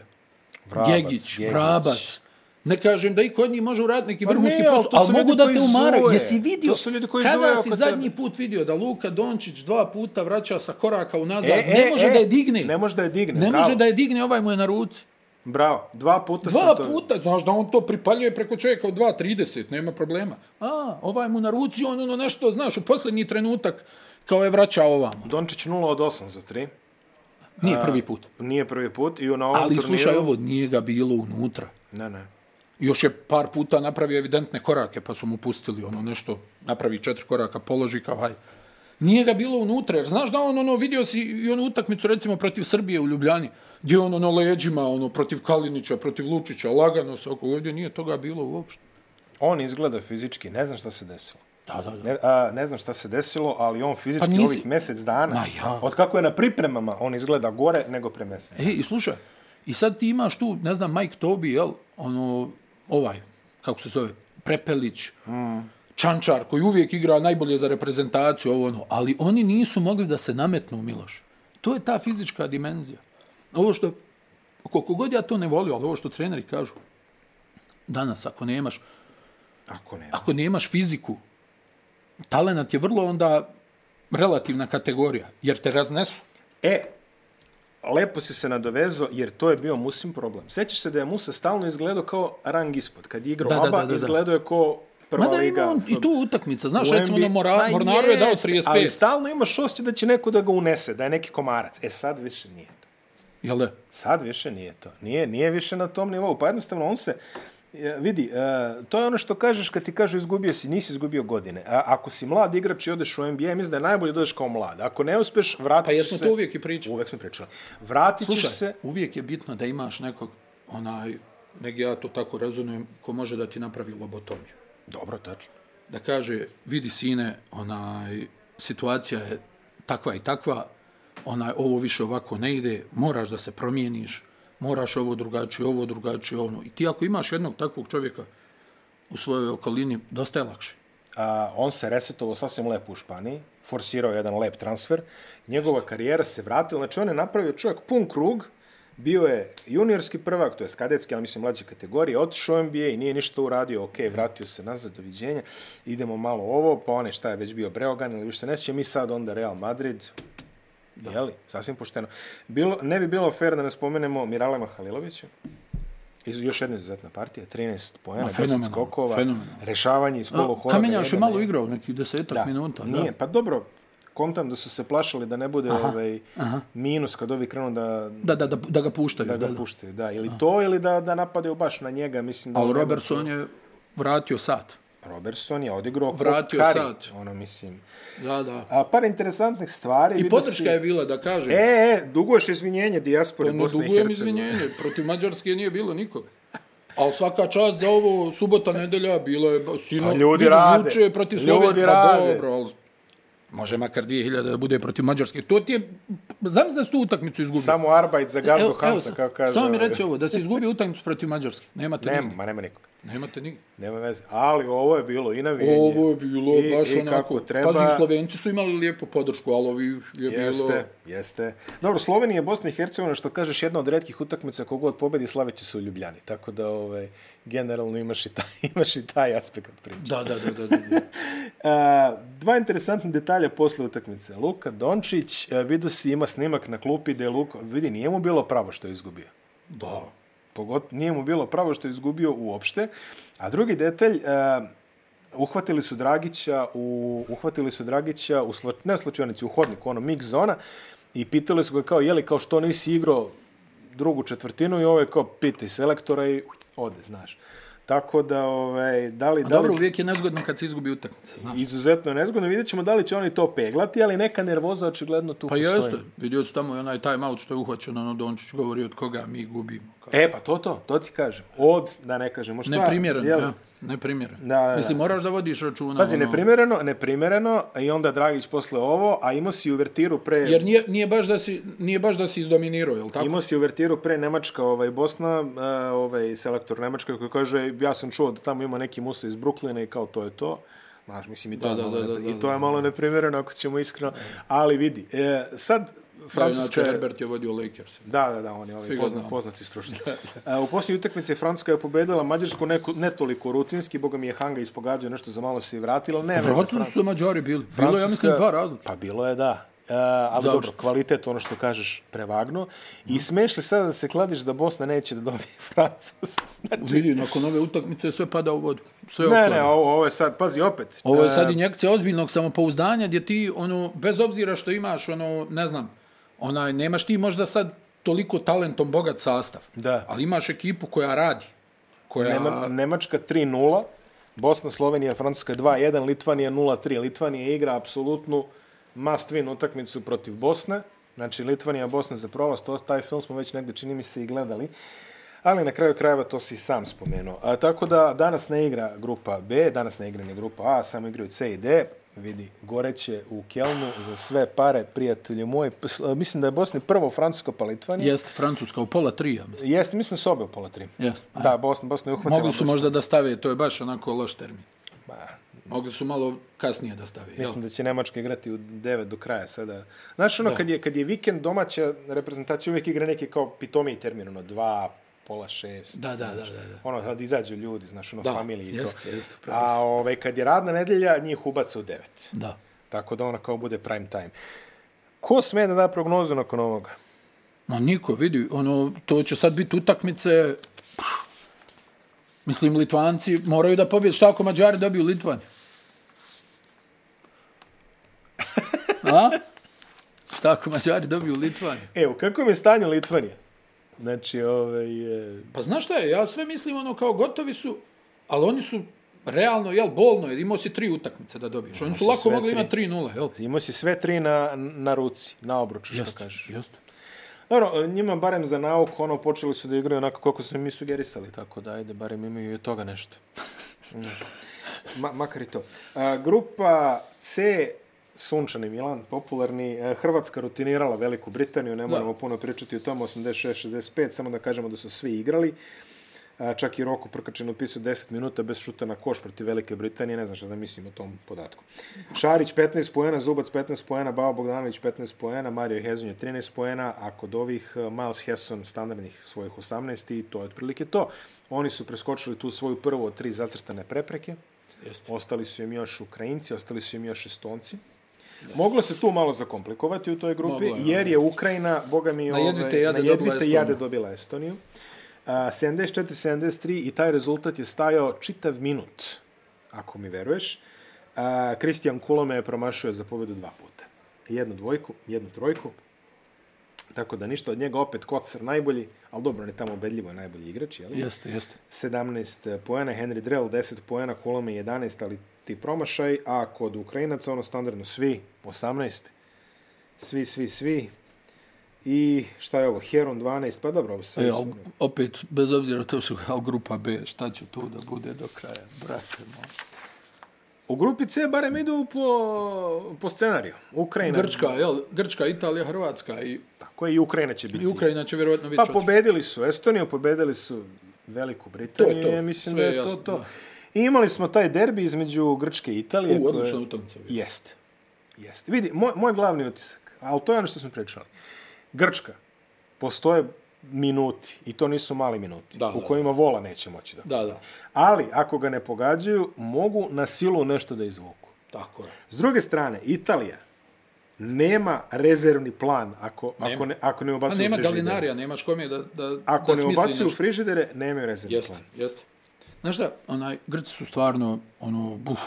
S2: Vrabac,
S1: Gegić,
S2: Gegić.
S1: Vrabac. Ne kažem da i kod njih može uraditi neki
S2: Pa
S1: vrhunski
S2: ne, ali
S1: posao,
S2: to su
S1: ali mogu
S2: ljudi
S1: da
S2: koji
S1: te umaraju.
S2: zoje.
S1: Jesi vidio,
S2: To su ljudi koji zoje
S1: kada
S2: oko
S1: si
S2: tebe.
S1: zadnji put vidio da Luka Dončić dva puta vraća sa koraka unazad, ne može da je digne.
S2: E, Ne može da je digne,
S1: Ne
S2: bravo.
S1: može da je digne, ovaj mu je na ruci.
S2: Bravo, dva puta
S1: Dva
S2: sam to...
S1: puta, znaš da on to pripaljuje preko čovjeka od 2.30, nema problema. A, ovaj mu na ruci, on ono nešto, znaš, u posljednji trenutak kao je vraća ovamo.
S2: Dončić 0 od 8 za 3.
S1: Nije prvi put.
S2: Nije prvi put i na ovom
S1: Ali
S2: turniru...
S1: slušaj ovo, nije ga bilo unutra.
S2: Ne, ne.
S1: Još je par puta napravio evidentne korake, pa su mu pustili ono nešto, napravi četiri koraka, položi kao haj. Nije ga bilo unutra, jer znaš da on ono, vidio si i onu utakmicu recimo protiv Srbije u Ljubljani, gdje on ono leđima, ono, protiv Kalinića, protiv Lučića, lagano se oko, ovdje nije toga bilo uopšte.
S2: On izgleda fizički, ne znam šta se desilo.
S1: Da, da, da.
S2: Ne, a, ne znam šta se desilo, ali on fizički
S1: Pa nisi-
S2: ovih mjesec dana,
S1: Ma ja.
S2: od kako je na pripremama, on izgleda gore nego pre mjesec.
S1: E, i slušaj, i sad ti imaš tu, ne znam, Mike Tobi, jel, ono, ovaj, kako se zove, Prepelić, mm. Čančar, koji uvijek igra najbolje za reprezentaciju, ovo ono, ali oni nisu mogli da se nametnu, Miloš. To je ta fizička dimenzija. Ovo što, koliko god ja to ne volio, ali ovo što treneri kažu, danas, ako nemaš,
S2: Ako ne.
S1: ako nemaš fiziku, talenat je vrlo onda relativna kategorija, jer te raznesu.
S2: E, lepo si se nadovezao, jer to je bio Musim problem. Sjećaš se da je Musa stalno izgledao kao rang ispod. Kad je igrao
S1: Da, da,
S2: ABA,
S1: da, da, da.
S2: izgledao je kao prva
S1: Mada
S2: liga.
S1: ima on i tu utakmica, znaš, recimo
S2: U NBA
S1: ono Mora,
S2: Ma
S1: Mornaru je dao
S2: jest, Ali
S1: 35,
S2: stalno imaš osjećaj da će neko da ga unese, da je neki komarac. E sad više nije to.
S1: jel da?
S2: Sad više nije to. Nije, nije više na tom nivou. Pa jednostavno on se, e, vidi, e, to je ono što kažeš kad ti kažu izgubio si, nisi izgubio godine. A, ako si mlad igrač i odeš u NBA, mislim da je najbolje da odeš kao mlad. Ako ne uspeš, vratit
S1: Pa
S2: ćeš
S1: jer
S2: se...
S1: smo to uvijek i pričali.
S2: Uvek smo pričali. Vratit ćeš
S1: Slušaj,
S2: se...
S1: uvijek je bitno da imaš nekog, onaj, neg ja to tako razumijem, ko može da ti napravi lobotomiju.
S2: Dobro, tačno.
S1: Da kaže, vidi sine, onaj, situacija je takva i takva, onaj, ovo više ovako ne ide, moraš da se promijeniš, moraš ovo drugačije, ovo drugačije, ono. I ti ako imaš jednog takvog čovjeka u svojoj okolini, dosta je lakše.
S2: A, on se resetovao sasvim lepo u Španiji, forsirao je jedan lep transfer, njegova karijera se vratila, znači on je napravio čovjek pun krug, bio je juniorski prvak, to je kadetski, ali mislim mlađe kategorije, otišao u NBA i nije ništa uradio, ok, vratio se nazad, doviđenja, idemo malo ovo, pa one šta je već bio Breogan ili više se ne sjeća, mi sad onda Real Madrid, jeli, sasvim pošteno. Bilo, ne bi bilo fair da ne spomenemo Miralema Halilovića, Iz, još jedna izuzetna partija, 13 poena, 10
S1: fenomenalno,
S2: skokova,
S1: fenomenalno.
S2: rešavanje iz poluhora.
S1: Kamenjaš je malo igrao, neki desetak
S2: Da,
S1: minuta. da.
S2: Nije, pa dobro, kontam da su se plašali da ne bude aha, ovaj, aha. minus kad ovi krenu da,
S1: Da, da, da, da ga puštaju.
S2: da ga puštaju. Da, ili to, ili da, da napadaju baš na njega. Mislim da
S1: Ali
S2: on-
S1: Robertson je vratio sat.
S2: Robertson je odigrao ko
S1: Vratio
S2: Kari,
S1: sad.
S2: Ono, mislim.
S1: Da, da.
S2: A, par interesantnih stvari.
S1: I
S2: vidio
S1: podrška
S2: si-
S1: je bila, da kažem.
S2: E, e, duguješ izvinjenje dijaspore
S1: ono,
S2: Bosne i
S1: dugujem
S2: Hercegovine.
S1: izvinjenje. Protiv Mađarske nije bilo nikoga. Ali svaka čast za ovo subota, nedelja, bilo je sino...
S2: Pa ljudi
S1: vidim,
S2: rade.
S1: Juče je protiv
S2: Ljudi
S1: Slovenije. Pa
S2: rade.
S1: dobro, ali može makar 2000 da bude protiv Mađarske. To ti je... Znam da su tu utakmicu izgubili.
S2: Samo Arbajt za gazdu
S1: evo,
S2: Hansa,
S1: sa-
S2: kao kaže.
S1: Samo mi
S2: ovaj.
S1: reci ovo, da se izgubi utakmicu protiv Mađarske. Nemate
S2: Nema,
S1: nigdje.
S2: ma nema nikoga.
S1: Nemate nigdje.
S2: Nema veze. Ali ovo je bilo i navijenje.
S1: Ovo je bilo
S2: I,
S1: baš
S2: i
S1: onako.
S2: E, kako treba.
S1: Pazi, Slovenci su imali lijepu podršku, ali ovi je bilo...
S2: Jeste, jeste. Dobro, Slovenija i Bosna i Hercegovina, što kažeš, jedna od redkih utakmica kogod pobedi, slaveći su u Ljubljani. Tako da, ovaj, generalno imaš i taj, imaš i taj aspekt priče.
S1: Da, da, da, da, da. da.
S2: A, E, dva interesantna detalja posle utakmice. Luka Dončić, e, vidio si, ima snimak na klupi da je Luka, vidi, nije mu bilo pravo što je izgubio.
S1: da.
S2: Pogotovo nije mu bilo pravo što je izgubio uopšte. A drugi detalj, uh, uhvatili su Dragića u uhvatili su Dragića u sla, ne slučajnici u hodniku, ono mix zona i pitali su ga kao je li kao što nisi igrao drugu četvrtinu i ovo je kao pitaj selektora i ode, znaš. Tako da, ovaj, da li...
S1: A
S2: da li...
S1: dobro, uvijek je nezgodno kad se izgubi utakmica, znaš.
S2: Izuzetno je nezgodno, vidjet ćemo da li će oni to peglati, ali neka nervoza očigledno tu
S1: Pa
S2: postoji.
S1: jeste, vidio su tamo i onaj time out što je uhvaćen, ono Dončić govori od koga mi gubimo. Kao.
S2: E, pa to to, to ti kažem. Od, da ne kažemo šta.
S1: Neprimjereno,
S2: jel?
S1: ja. Neprimjereno.
S2: Da, da, da.
S1: Mislim, moraš da vodiš računa.
S2: Pazi,
S1: ono,
S2: neprimereno, neprimereno, i onda Dragić posle ovo, a imao si uvertiru pre...
S1: Jer nije, nije, baš da si, nije baš da si izdominirao, jel tako?
S2: Imao si uvertiru pre Nemačka, ovaj, Bosna, eh, ovaj, selektor Nemačka koji kaže, ja sam čuo da tamo ima neki musa iz Bruklina i kao to je to. Znaš, mislim, i to,
S1: Da,
S2: je,
S1: da,
S2: malo
S1: da,
S2: nepri-
S1: da, da,
S2: i to je malo neprimereno, ako ćemo iskreno. Ali vidi, e, sad Francuska...
S1: Francuska
S2: je-
S1: Herbert je vodio Lakers.
S2: Da, da, da, on je ovaj
S1: Svi ga
S2: pozna,
S1: znamo.
S2: poznati stručnjak. A, U posljednjoj utakmici Francuska je pobedila Mađarsku neko, ne toliko rutinski, boga mi je Hanga ispogađao nešto za malo se i vratila, ali ne veze.
S1: Vratili
S2: Fran-
S1: su Mađari bili. Bilo je, ja mislim, dva razlike.
S2: Pa bilo je, da. E, ali
S1: Završno.
S2: dobro, kvalitet, ono što kažeš, prevagno. I smeš li sada da se kladiš da Bosna neće da dobije Francus? Znači,
S1: Vidi, nakon ove utakmice sve pada u vodu. Sve
S2: ne,
S1: oklanja.
S2: ne, ovo, ovo je sad, pazi, opet.
S1: Ovo je sad
S2: e,
S1: injekcija ozbiljnog samopouzdanja gdje ti, ono, bez obzira što imaš, ono, ne znam, onaj, nemaš ti možda sad toliko talentom bogat sastav.
S2: Da.
S1: Ali imaš ekipu koja radi. Koja...
S2: Nema, Nemačka 3-0, Bosna, Slovenija, Francuska 2-1, Litvanija 0-3. Litvanija igra apsolutnu must win utakmicu protiv Bosne. Znači, Litvanija, Bosna za prolaz, to, taj film smo već negde, čini mi se, i gledali. Ali na kraju krajeva to si i sam spomenuo. A, tako da danas ne igra grupa B, danas ne igra ni grupa A, samo igraju C i D. Vidi, goreće u Kelnu za sve pare, prijatelju moji. P- s- Mislim da je Bosni prvo Francusko pa Litvanija.
S1: Jeste Francuska u pola tri, ja mislim.
S2: Jeste, Jest, mislim da su obe u pola tri.
S1: Jeste.
S2: Da, Bosna, Bosna je uhvatila.
S1: Mogli su
S2: baš-
S1: možda da stave, to je baš onako loš termin.
S2: Ma,
S1: Mogli su malo kasnije da stave. jel?
S2: Mislim da će Nemačka igrati u 9 do kraja sada. Znaš, ono, kad je, kad je vikend domaća reprezentacija uvijek igra neki kao pitomiji termin, ono, dva, pola šest.
S1: Da, da, da, da. da.
S2: Ono, sad izađu ljudi, znaš, ono,
S1: Da,
S2: familiji i to.
S1: jeste, jeste, pravo
S2: A ove, kad je radna nedelja, njih ubaca u 9.
S1: da.
S2: Tako da ona kao bude prime time. Ko sme da da prognozu nakon ovoga?
S1: Ma niko, vidi, ono, to će sad biti utakmice, pff, mislim, Litvanci moraju da pobjede. Šta ako Mađari dobiju Litvaniju? A? Šta ako Mađari dobiju Litvaniju?
S2: E, u kakvom je stanju Litvanija? Znači, ovaj, e,
S1: Pa znaš šta je, ja sve mislim ono kao gotovi su, ali oni su realno, jel, bolno, jer imao si tri utakmice da dobiješ. Oni su
S2: Imao si
S1: lako
S2: sve
S1: mogli
S2: tri.
S1: imati 3-0, jel?
S2: imao si sve tri na, na ruci, na obruču, što kažeš.
S1: jeste.
S2: Dobro, e, njima barem za nauk, ono, počeli su da igraju onako kako su mi sugerisali, tako da, ajde, barem imaju i od toga nešto. Ma, makar i to. A, grupa C, Sunčani Milan, popularni, e, Hrvatska rutinirala Veliku Britaniju, ne moramo puno pričati o tom, 86-65, samo da kažemo da su svi igrali. A, čak i Roko Prkačin upisao 10 minuta bez šuta na koš protiv Velike Britanije, ne znam šta da mislim o tom podatku. Šarić 15 poena, Zubac 15 poena, Bao Bogdanović 15 poena, Mario Hezonje 13 poena, a kod ovih e, Miles Hesson standardnih svojih 18 i to je otprilike to. Oni su preskočili tu svoju prvu od tri zacrtane prepreke.
S1: Jeste.
S2: Ostali su im još Ukrajinci, ostali su im još Estonci. Moglo se tu malo zakomplikovati u toj grupi,
S1: Moglo je,
S2: jer je Ukrajina, boga mi,
S1: Na jedvite
S2: ovaj,
S1: jade
S2: na jedvite
S1: dobila Estoniju.
S2: jade dobila Estoniju. A, 74-73 i taj rezultat je stajao čitav minut, ako mi veruješ. A, Kristijan Kulome je promašio za pobjedu dva puta. Jednu dvojku, jednu trojku. Tako da ništa od njega, opet Kocar najbolji, ali dobro, on je tamo ubedljivo najbolji igrač, jel?
S1: Jeste, jeste.
S2: 17 eh, poena, Henry Drell 10 poena, Kulome 11, ali ti promašaj, a kod Ukrajinaca ono standardno svi 18. Svi, svi, svi. I šta je ovo, Heron 12, pa dobro, ovo sve.
S1: E, al, opet, bez obzira to što al grupa B, šta će tu da bude do kraja, brate moj.
S2: U grupi C barem idu po, po scenariju. Ukrajina.
S1: Grčka, jel? Grčka, Italija, Hrvatska i,
S2: Tako je, i Ukrajina će biti.
S1: i Ukrajina će vjerovatno biti
S2: Pa
S1: četvrta.
S2: pobedili su Estoniju, pobedili su Veliku Britaniju.
S1: To je to.
S2: Mislim
S1: Sve
S2: da
S1: je
S2: je to
S1: jasno,
S2: to.
S1: da.
S2: I imali smo taj derbi između Grčke i Italije.
S1: U,
S2: koje-
S1: odlična utakmica. bila.
S2: Jeste. Jeste. Vidi, moj, moj glavni utisak, ali to je ono što smo pričali. Grčka. Postoje minuti, i to nisu mali minuti,
S1: Da,
S2: u
S1: da,
S2: kojima vola neće moći da.
S1: Da, da.
S2: Ali, ako ga ne pogađaju, mogu na silu nešto da izvuku.
S1: Tako je.
S2: S druge strane, Italija nema rezervni plan ako, ako, ne, ako ne
S1: A
S2: ubacuju
S1: Pa nema
S2: frižidere.
S1: galinarija, nemaš kom je da, da,
S2: Ako
S1: da
S2: ne
S1: smisli
S2: ubacuju
S1: nešto.
S2: frižidere, nemaju rezervni
S1: Jeste,
S2: plan.
S1: jeste. Znaš šta, onaj, Grci su stvarno, ono, buf,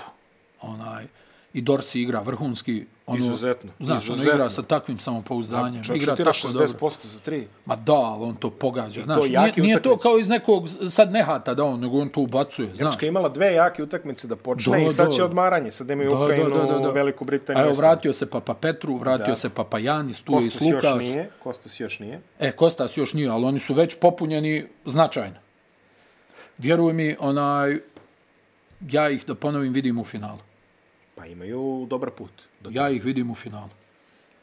S1: onaj, i Dorsi igra vrhunski. Ono,
S2: Izuzetno,
S1: Znaš,
S2: izuzetno.
S1: ono igra sa takvim samopouzdanjem.
S2: Čak
S1: igra
S2: šutira
S1: tako dobro.
S2: 60% za tri.
S1: Ma da, ali on to pogađa. Znaš,
S2: to
S1: nije,
S2: jake
S1: nije to
S2: utakmice.
S1: kao iz nekog sad nehata da on, nego on to ubacuje, znaš.
S2: Grčka je imala Znači, dve jake utakmice da počne
S1: Da,
S2: i sad
S1: da.
S2: će odmaranje. Sad imaju Ukrajinu, Veliku Britaniju.
S1: A Evo,
S2: Estoniju.
S1: vratio se Papa Petru, vratio da. se Papa Janis, tu je i
S2: Kostas
S1: Slukas.
S2: još nije. Kostas još nije.
S1: E, Kostas još nije, ali oni su već popunjeni značajno. Vjeruj mi, onaj, ja ih, da ponovim, vidim u finalu.
S2: Pa imaju dobar put. Do,
S1: Ja ih vidim u finalu.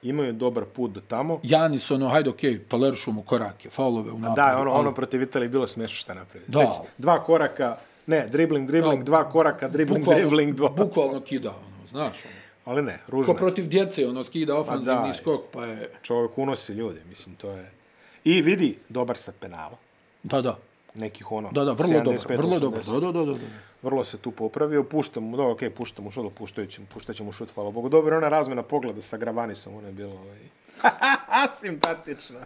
S2: imaju dobar put do tamo.
S1: Janis, ono, hajde, okej, okay, tolerišu mu korake, faulove u napadu.
S2: Da, ono, ono protiv Italije je bilo smiješno šta napravi.
S1: Da.
S2: Sećaš, dva koraka, ne, dribling, dribling, dva koraka, dribling, dribling, dva.
S1: Bukvalno kida, ono, znaš, ono.
S2: Ali ne,
S1: Ko
S2: ružno. je.
S1: protiv djece, ono, skida ofanzivni
S2: daj.
S1: skok, pa je...
S2: Čovjek unosi ljude, mislim, to je... I vidi, dobar sa penala.
S1: Da, da.
S2: Nekih ono...
S1: Da, da, vrlo dobro,
S2: 75,
S1: vrlo
S2: 80.
S1: dobro. Da, da, da, da. da.
S2: Vrlo se tu popravio, puštam mu, dobro, okej, puštam mu šut, puštajući, puštajući mu šut, hvala Bogu. Dobro, je ona razmena pogleda sa Gravanisom, ona je bila ovaj... simpatična.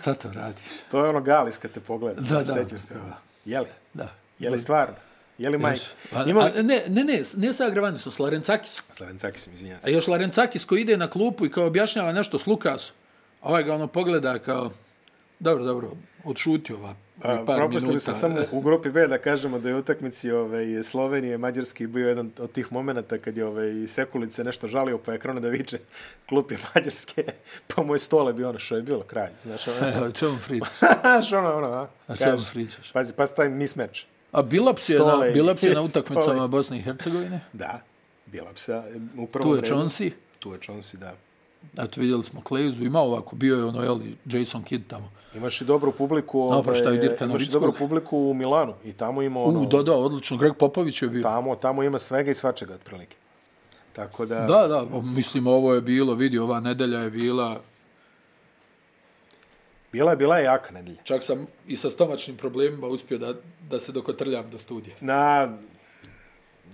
S1: Šta to radiš?
S2: To je ono Galis kad te pogleda.
S1: Da, da.
S2: Sećaš se.
S1: Da.
S2: Jeli?
S1: Da.
S2: Je li stvarno? Je li majka?
S1: A,
S2: Ima li...
S1: a, ne, ne, ne, ne sa Agrevanisom, s Larencakisom.
S2: Slarencakisom, izvinjam
S1: A
S2: se.
S1: još Larencakis koji ide na klupu i kao objašnjava nešto s Lukasom, a ovaj ga ono pogleda kao, dobro, dobro, odšuti ova
S2: A,
S1: par
S2: Propustili
S1: minuta.
S2: smo samo u grupi B da kažemo da je u utakmici ovaj, Slovenije, Mađarski bio jedan od tih momenata kad je ovaj, Sekulic se nešto žalio pa je krenuo da viče klub je Mađarske, pa mu je stole bio ono što je bilo kralj. Znaš, ono,
S1: E, o čemu pričaš?
S2: znaš, ono, ono, a?
S1: O
S2: Kaže,
S1: čemu pričaš?
S2: pazi, pa taj mismeč.
S1: A Bilaps je, na,
S2: Stole i-
S1: Bilaps je na
S2: stole.
S1: utakmicama Bosne i Hercegovine.
S2: Da, Bilapsa, e, u prvom
S1: Tu je
S2: redu.
S1: Chauncey.
S2: Tu je Chonsi, da.
S1: Eto, vidjeli smo Klezu, ima ovako, bio je ono, jeli, Jason Kidd tamo.
S2: Imaš i dobru publiku, ovaj,
S1: oproštaju pa Dirka
S2: imaš i
S1: Novickog.
S2: dobru publiku u Milanu i tamo ima ono,
S1: U, da, da, odlično, Greg Popović je bio.
S2: tamo, tamo ima svega i svačega otprilike. Tako da,
S1: Da, da, o, mislim, ovo je bilo, vidi, ova nedelja je bila,
S2: bila je bila je jaka nedelja.
S1: čak sam i sa stomačnim problemima uspio da, da se dokotrljam do studija.
S2: Na,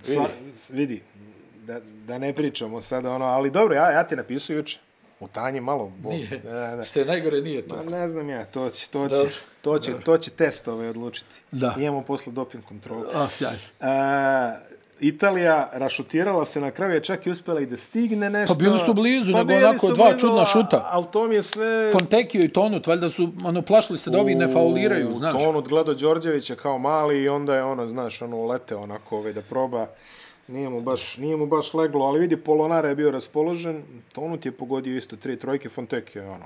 S2: sva, vidi, da, da ne pričamo sada ono, ali dobro, ja, ja ti napisao juče. U tanji malo bol.
S1: Nije.
S2: Da, da, da.
S1: Što je najgore, nije to.
S2: Ma, Pa ne znam ja, to će, to će,
S1: Dobro.
S2: to će, to će test ovaj odlučiti.
S1: Da.
S2: Imamo posle doping kontrolu.
S1: A, sjajno.
S2: E, Italija rašutirala se, na kraju je čak i uspjela i da stigne nešto.
S1: Pa bili su blizu, nego
S2: bili
S1: onako
S2: su
S1: dva
S2: blizu,
S1: čudna
S2: a-
S1: šuta.
S2: Ali to mi je sve...
S1: Fontekio i Tonut, valjda su ono, plašili se da ovi ne fauliraju, znaš.
S2: To on odgledao Đorđevića kao mali i onda je ono, znaš, ono ulete onako ove da proba. Nije mu baš, nije mu baš leglo, ali vidi, Polonara je bio raspoložen, Tonut je pogodio isto tri trojke, Fontek je ono.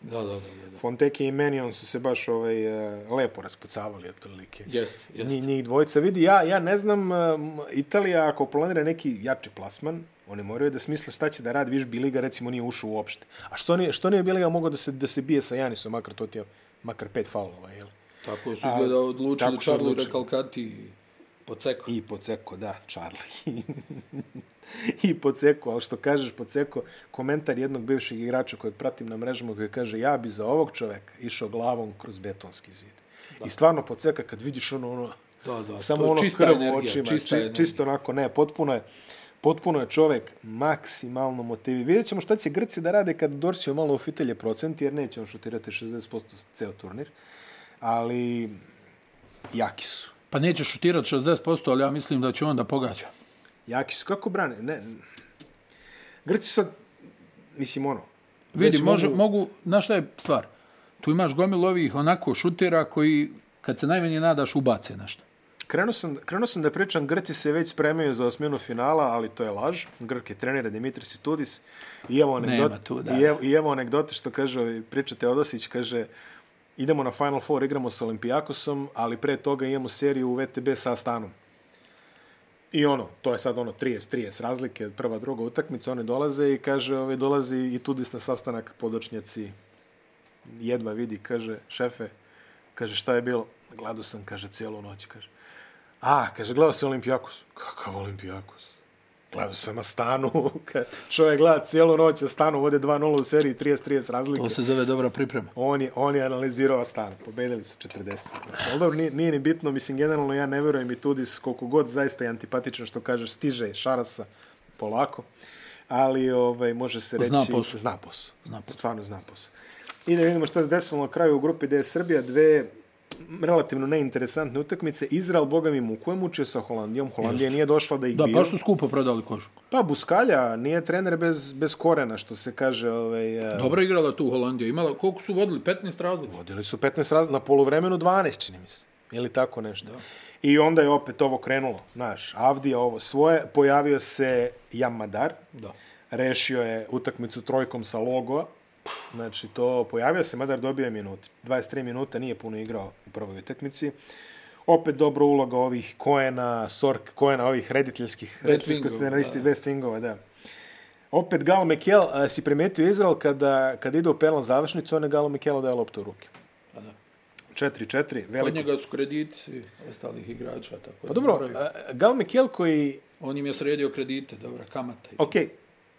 S1: Da, da, da. da.
S2: Fontek i Menion su se baš ovaj, e, lepo raspucavali otprilike.
S1: Jest, jest.
S2: Njih, njih dvojica vidi, ja, ja ne znam, em, Italija ako planira neki jači plasman, oni moraju da smisle šta će da radi, viš Biliga recimo nije ušao uopšte. A što nije, što nije Biliga mogao da se, da se bije sa Janisom, makar to ti je, makar pet faulova, jel?
S1: Tako su izgleda odlučili
S2: tako su
S1: Charlie
S2: odlučili.
S1: Recalcati i Poceko.
S2: I poceko, da, Charlie. I poceko, ali što kažeš poceko, komentar jednog bivšeg igrača kojeg pratim na mrežama koji kaže ja bi za ovog čoveka išao glavom kroz betonski zid. Da. I stvarno poceka kad vidiš ono, ono
S1: Da, da,
S2: samo
S1: to je
S2: ono
S1: čista
S2: krv u
S1: energija,
S2: očima,
S1: čista
S2: či,
S1: energija.
S2: čisto onako, ne, potpuno je, potpuno je čovek maksimalno motivi. Vidjet ćemo šta će Grci da rade kad Dorsio malo ufitelje procenti, jer neće on šutirati 60% ceo turnir, ali jaki su.
S1: Pa neće šutirat 60%, ali ja mislim da će on da pogađa.
S2: Jaki su, kako brane? Ne. Grci sad, mislim, ono.
S1: Vidi,
S2: već
S1: može, mogu... mogu, znaš šta je stvar? Tu imaš gomilu ovih onako šutera koji, kad se najmanje nadaš, ubace nešto.
S2: Krenuo sam, krenuo sam da pričam, Grci se već spremaju za osminu finala, ali to je laž. Grke trenira Dimitris Tudis. I evo
S1: Nema
S2: anegdote,
S1: tu, da.
S2: i evo, i evo anegdote što kaže, ovaj, priča Teodosić, kaže, idemo na Final Four, igramo sa Olimpijakosom, ali pre toga imamo seriju u VTB sa Stanom. I ono, to je sad ono 30-30 razlike, prva, druga utakmica, oni dolaze i kaže, ovaj, dolazi i Tudis na sastanak podočnjaci jedva vidi, kaže, šefe, Kaže, šta je bilo? Gledao sam, kaže, cijelu noć, kaže. A, kaže, gledao sam Olimpijakos. Kakav Olimpijakos? Gledao sam Astanu. Kaže, Čovjek gleda cijelu noć Astanu, vode 2-0 u seriji, 30-30 razlike.
S1: To se zove dobra priprema.
S2: On je, on je analizirao Astanu. Pobedili su 40. Ali dobro, nije, nije ni bitno. Mislim, generalno ja ne verujem i Tudis, koliko god zaista je antipatičan što kažeš, stiže Šarasa polako. Ali ovaj, može se reći...
S1: Zna posao.
S2: Zna posao.
S1: Zna posao.
S2: Stvarno zna posao. I da vidimo šta se desilo na kraju u grupi gdje je Srbija dve relativno neinteresantne utakmice. Izrael, boga mi, muku je mučio sa Holandijom. Holandija nije došla da ih
S1: Da,
S2: bije.
S1: baš su skupo prodali kožu.
S2: Pa Buskalja nije trener bez, bez korena, što se kaže. Ovaj, eh,
S1: Dobro igrala tu Holandija. Imala, koliko su vodili? 15 razlika.
S2: Vodili su 15 razlika, na polovremenu 12, čini mi se. Ili tako nešto. Da. I onda je opet ovo krenulo. Znaš, Avdija ovo svoje. Pojavio se Jamadar.
S1: Da.
S2: Rešio je utakmicu trojkom sa logoa. Znači, to pojavio se, Madar dobio je minute. 23 minuta nije puno igrao u prvoj utakmici. Opet dobra uloga ovih Koena, Sork Koena, ovih rediteljskih, rediteljskih
S1: Wingova,
S2: scenaristi West Wingova, da. Opet Galo Mekel, a, si primetio Izrael kada, kada ide u penal završnicu, on je Galo Mekelo daje loptu u ruke.
S1: Pa da.
S2: 4-4,
S1: Od
S2: veliko.
S1: njega su krediti svi ostalih igrača. Tako
S2: Pa dobro, a, Gal Mekel koji,
S1: On im je sredio kredite, dobra, kamata. i-
S2: ok,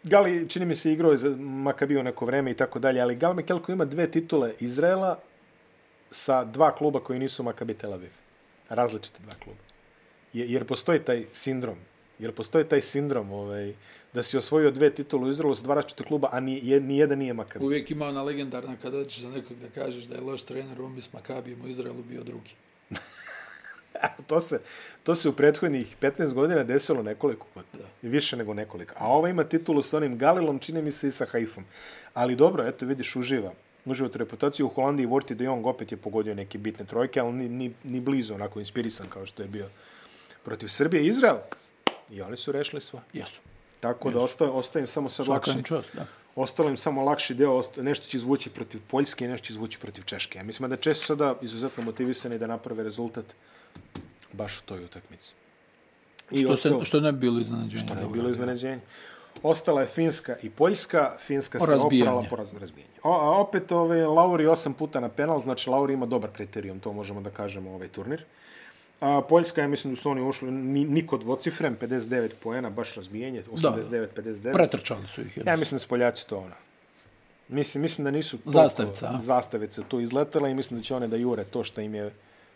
S2: Gali čini mi se igrao je za Makabiju neko vreme i tako dalje, ali Gal Mekel koji ima dve titule Izraela sa dva kluba koji nisu Makabi Tel Aviv. Različite dva kluba. Je- Jer postoji taj sindrom. Jer postoji taj sindrom ovaj, da si osvojio dve titule u Izraelu sa dva različite kluba, a ni, je- ni jedan nije Makabi.
S1: Uvijek ima ona legendarna kada ćeš za nekog da kažeš da je loš trener, on bi s Makabijem u Izraelu bio drugi.
S2: to se, to se u prethodnih 15 godina desilo nekoliko puta. I više nego nekoliko. A ova ima titulu sa onim Galilom, čini mi se i sa Haifom. Ali dobro, eto, vidiš, uživa. Uživa tu reputaciju. U Holandiji Vorti de Jong opet je pogodio neke bitne trojke, ali ni, ni, ni blizu onako inspirisan kao što je bio protiv Srbije. Izrael, i oni su rešili sve.
S1: Jesu.
S2: Tako da ostaje, ostaje im samo sad
S1: Svaka
S2: lakše.
S1: im čast, da.
S2: Ostalo im samo lakši deo, osta- nešto će izvući protiv Poljske i nešto će izvući protiv Češke. Ja mislim da Česi su sada izuzetno motivisani da naprave rezultat baš u toj utakmici. I
S1: Što, se,
S2: ostalo-
S1: što ne bi bilo iznenađenje.
S2: što je
S1: dobro.
S2: bilo iznenađenje. Ostala je Finska i Poljska. Finska
S1: O
S2: se
S1: razbijanju.
S2: oprala po raz- razbijanju. O, a opet ovaj, Lauri osam puta na penal, znači Lauri ima dobar kriterijum, to možemo da kažemo ovaj turnir. A, Poljska, ja mislim da su oni ušli ni, niko dvocifren, 59 poena, baš razbijenje, 89-59.
S1: Pretrčali su ih.
S2: Ja
S1: Ja,
S2: mislim da su Poljaci to ona. Mislim, mislim da nisu toliko
S1: Zastavica, a?
S2: zastavice tu izletela i mislim da će one da jure to što im je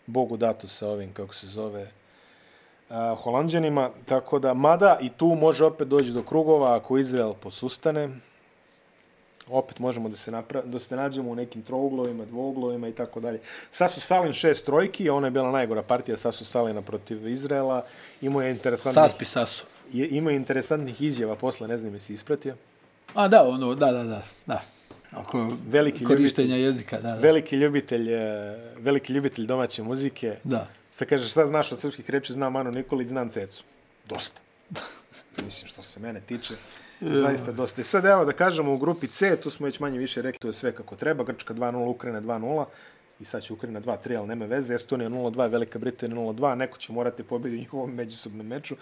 S2: Bogu dato sa ovim, kako se zove, a, Holandjanima. Tako da, mada i tu može opet doći do krugova ako Izrael posustane. Opet možemo da se, napra da se nađemo u nekim trouglovima, dvouglovima i tako dalje. Sasu Salin šest trojki, ona je bila najgora partija Sasu Salina protiv Izraela. Imao je interesantnih,
S1: Saspi sasu.
S2: je, imao je interesantnih izjava posle, ne znam jesi ispratio.
S1: A da, ono, da, da, da. da. Oko
S2: Veliki
S1: korištenja jezika, da, da.
S2: Veliki ljubitelj, e, veliki ljubitelj domaće muzike.
S1: da.
S2: Šta kažeš, šta znaš od srpskih reči? Znam Anu Nikolić, znam Cecu. Dosta. Mislim, što se mene tiče,
S1: E.
S2: zaista dosta. I sad evo da kažemo u grupi C, tu smo već manje više rekli to je sve kako treba. Grčka 2-0, Ukrajina 2-0 i sad će Ukrajina 2-3, ali nema veze. Estonija 0-2, Velika Britanija 0-2. Neko će morati pobediti u njihovom međusobnom meču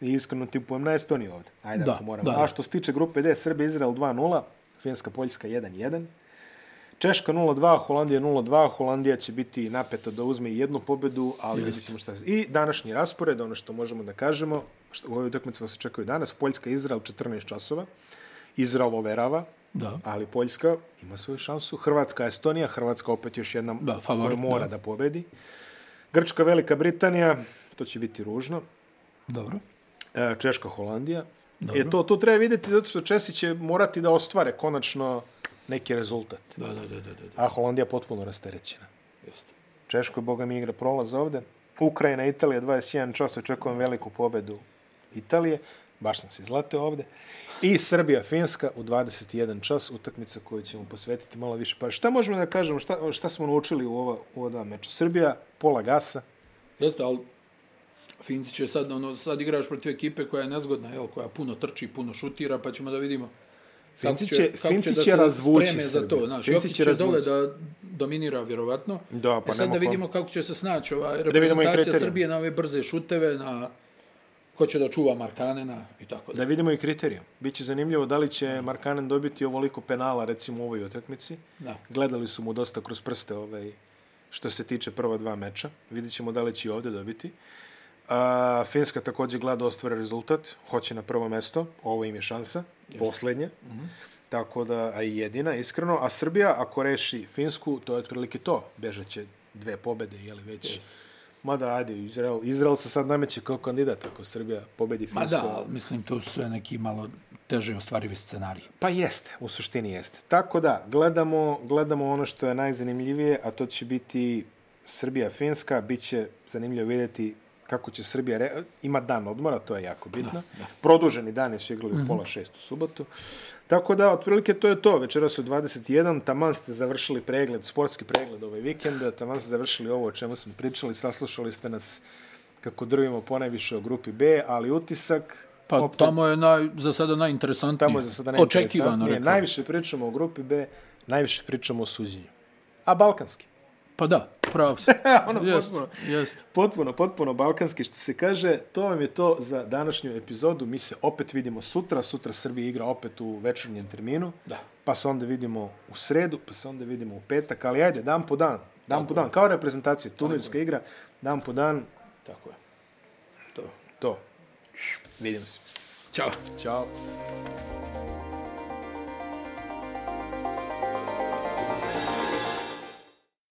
S2: i iskreno tipujem na Estoniju ovde. Ajde,
S1: Da,
S2: ako moramo.
S1: da.
S2: A što se tiče grupe D, Srbija, Izrael 2-0, Finska, Poljska 1-1. Češka 0-2, Holandija 0-2, Holandija će biti napeta da uzme i jednu pobedu, ali yes. vidjet ćemo šta se... I današnji raspored, ono što možemo da kažemo, što u ovoj utakmici vas očekaju danas, Poljska, Izrael 14 časova, Izrael overava,
S1: Da.
S2: ali Poljska ima svoju šansu, Hrvatska, Estonija, Hrvatska opet još jedna
S1: Da, favorit,
S2: koja mora
S1: da.
S2: da. da pobedi, Grčka, Velika Britanija, to će biti ružno,
S1: Dobro.
S2: E, Češka, Holandija.
S1: Dobro.
S2: E, to, to treba vidjeti zato što Česi će morati da ostvare konačno neki rezultat.
S1: Da, da, da, da, da. da.
S2: A Holandija potpuno rasterećena.
S1: Jeste.
S2: Češko, boga mi igra prolaz ovde. Ukrajina, Italija, 21 čas, očekujem veliku pobedu Italije. Baš sam se izlateo ovde. I Srbija, Finska u 21 čas, utakmica koju ćemo posvetiti malo više par. Šta možemo da kažemo, šta, šta smo naučili u ova, u ova dva meča? Srbija, pola gasa,
S1: Jeste, ali Finci će sad, ono, sad igraš protiv ekipe koja je nezgodna, jel, koja puno trči, puno šutira, pa ćemo da vidimo
S2: Finci
S1: kako
S2: će-
S1: kako
S2: Finci
S1: da
S2: će
S1: se
S2: razvući
S1: spreme za
S2: Srbiju.
S1: to. Znaš,
S2: Finci
S1: Jokić
S2: će
S1: će, dole
S2: razvući.
S1: da dominira, vjerovatno.
S2: Da, pa
S1: e sad
S2: nema
S1: da
S2: ko-
S1: vidimo kako će se snaći ova
S2: vidimo i
S1: reprezentacija
S2: kriterije.
S1: Srbije na ove brze šuteve, na ko će da čuva Markanena i tako
S2: Da
S1: da.
S2: vidimo i kriterijum. Biće zanimljivo da li će Markanen dobiti ovoliko penala recimo u ovoj utakmici.
S1: da.
S2: Gledali su mu dosta kroz prste ovaj što se tiče prva dva meča. Vidjet ćemo da li će i ovde dobiti. A, Finska također gleda ostvore rezultat, hoće na prvo mesto, ovo im je šansa, yes. poslednja. Mm
S1: Mhm.
S2: -hmm. Tako da, a i jedina, iskreno. A Srbija, ako reši Finsku, to je otprilike to. Bežaće dve pobede, jeli već... Yes. Mada, ajde, Izrael, Izrael se sad nameće kao kandidat ako Srbija pobedi Finsku.
S1: Ma da, ali mislim, to su sve neki malo teže ostvarivi scenariji.
S2: Pa jeste, u suštini jeste. Tako da, gledamo, gledamo ono što je najzanimljivije, a to će biti Srbija-Finska. Biće zanimljivo vidjeti kako će Srbija... Re... Ima dan odmora, to je jako bitno. Da, da. Produženi dan je su igrali mm -hmm. pola šest u subotu. Tako da, otprilike to je to. Večera su 21, taman ste završili pregled, sportski pregled ovaj vikenda, taman ste završili ovo o čemu smo pričali, saslušali ste nas kako drvimo ponajviše o grupi B, ali utisak
S1: Pa opet, tamo je naj, za sada najinteresantnije.
S2: Tamo je za sada najinteresantnije.
S1: Očekivano, rekao.
S2: Najviše pričamo o grupi B, najviše pričamo o suđenju. A balkanski?
S1: Pa da, pravo se.
S2: ono
S1: jest,
S2: potpuno,
S1: jest.
S2: potpuno, potpuno balkanski što se kaže. To vam je to za današnju epizodu. Mi se opet vidimo sutra. Sutra Srbija igra opet u večernjem terminu.
S1: Da.
S2: Pa se onda vidimo u sredu, pa se onda vidimo u petak. Ali ajde, dan po dan. Dan Tako po dan. Kao reprezentacija, turnirska igra. Dan po dan.
S1: Tako je.
S2: To. To. Vidimo se.
S1: Ćao.
S2: Ćao.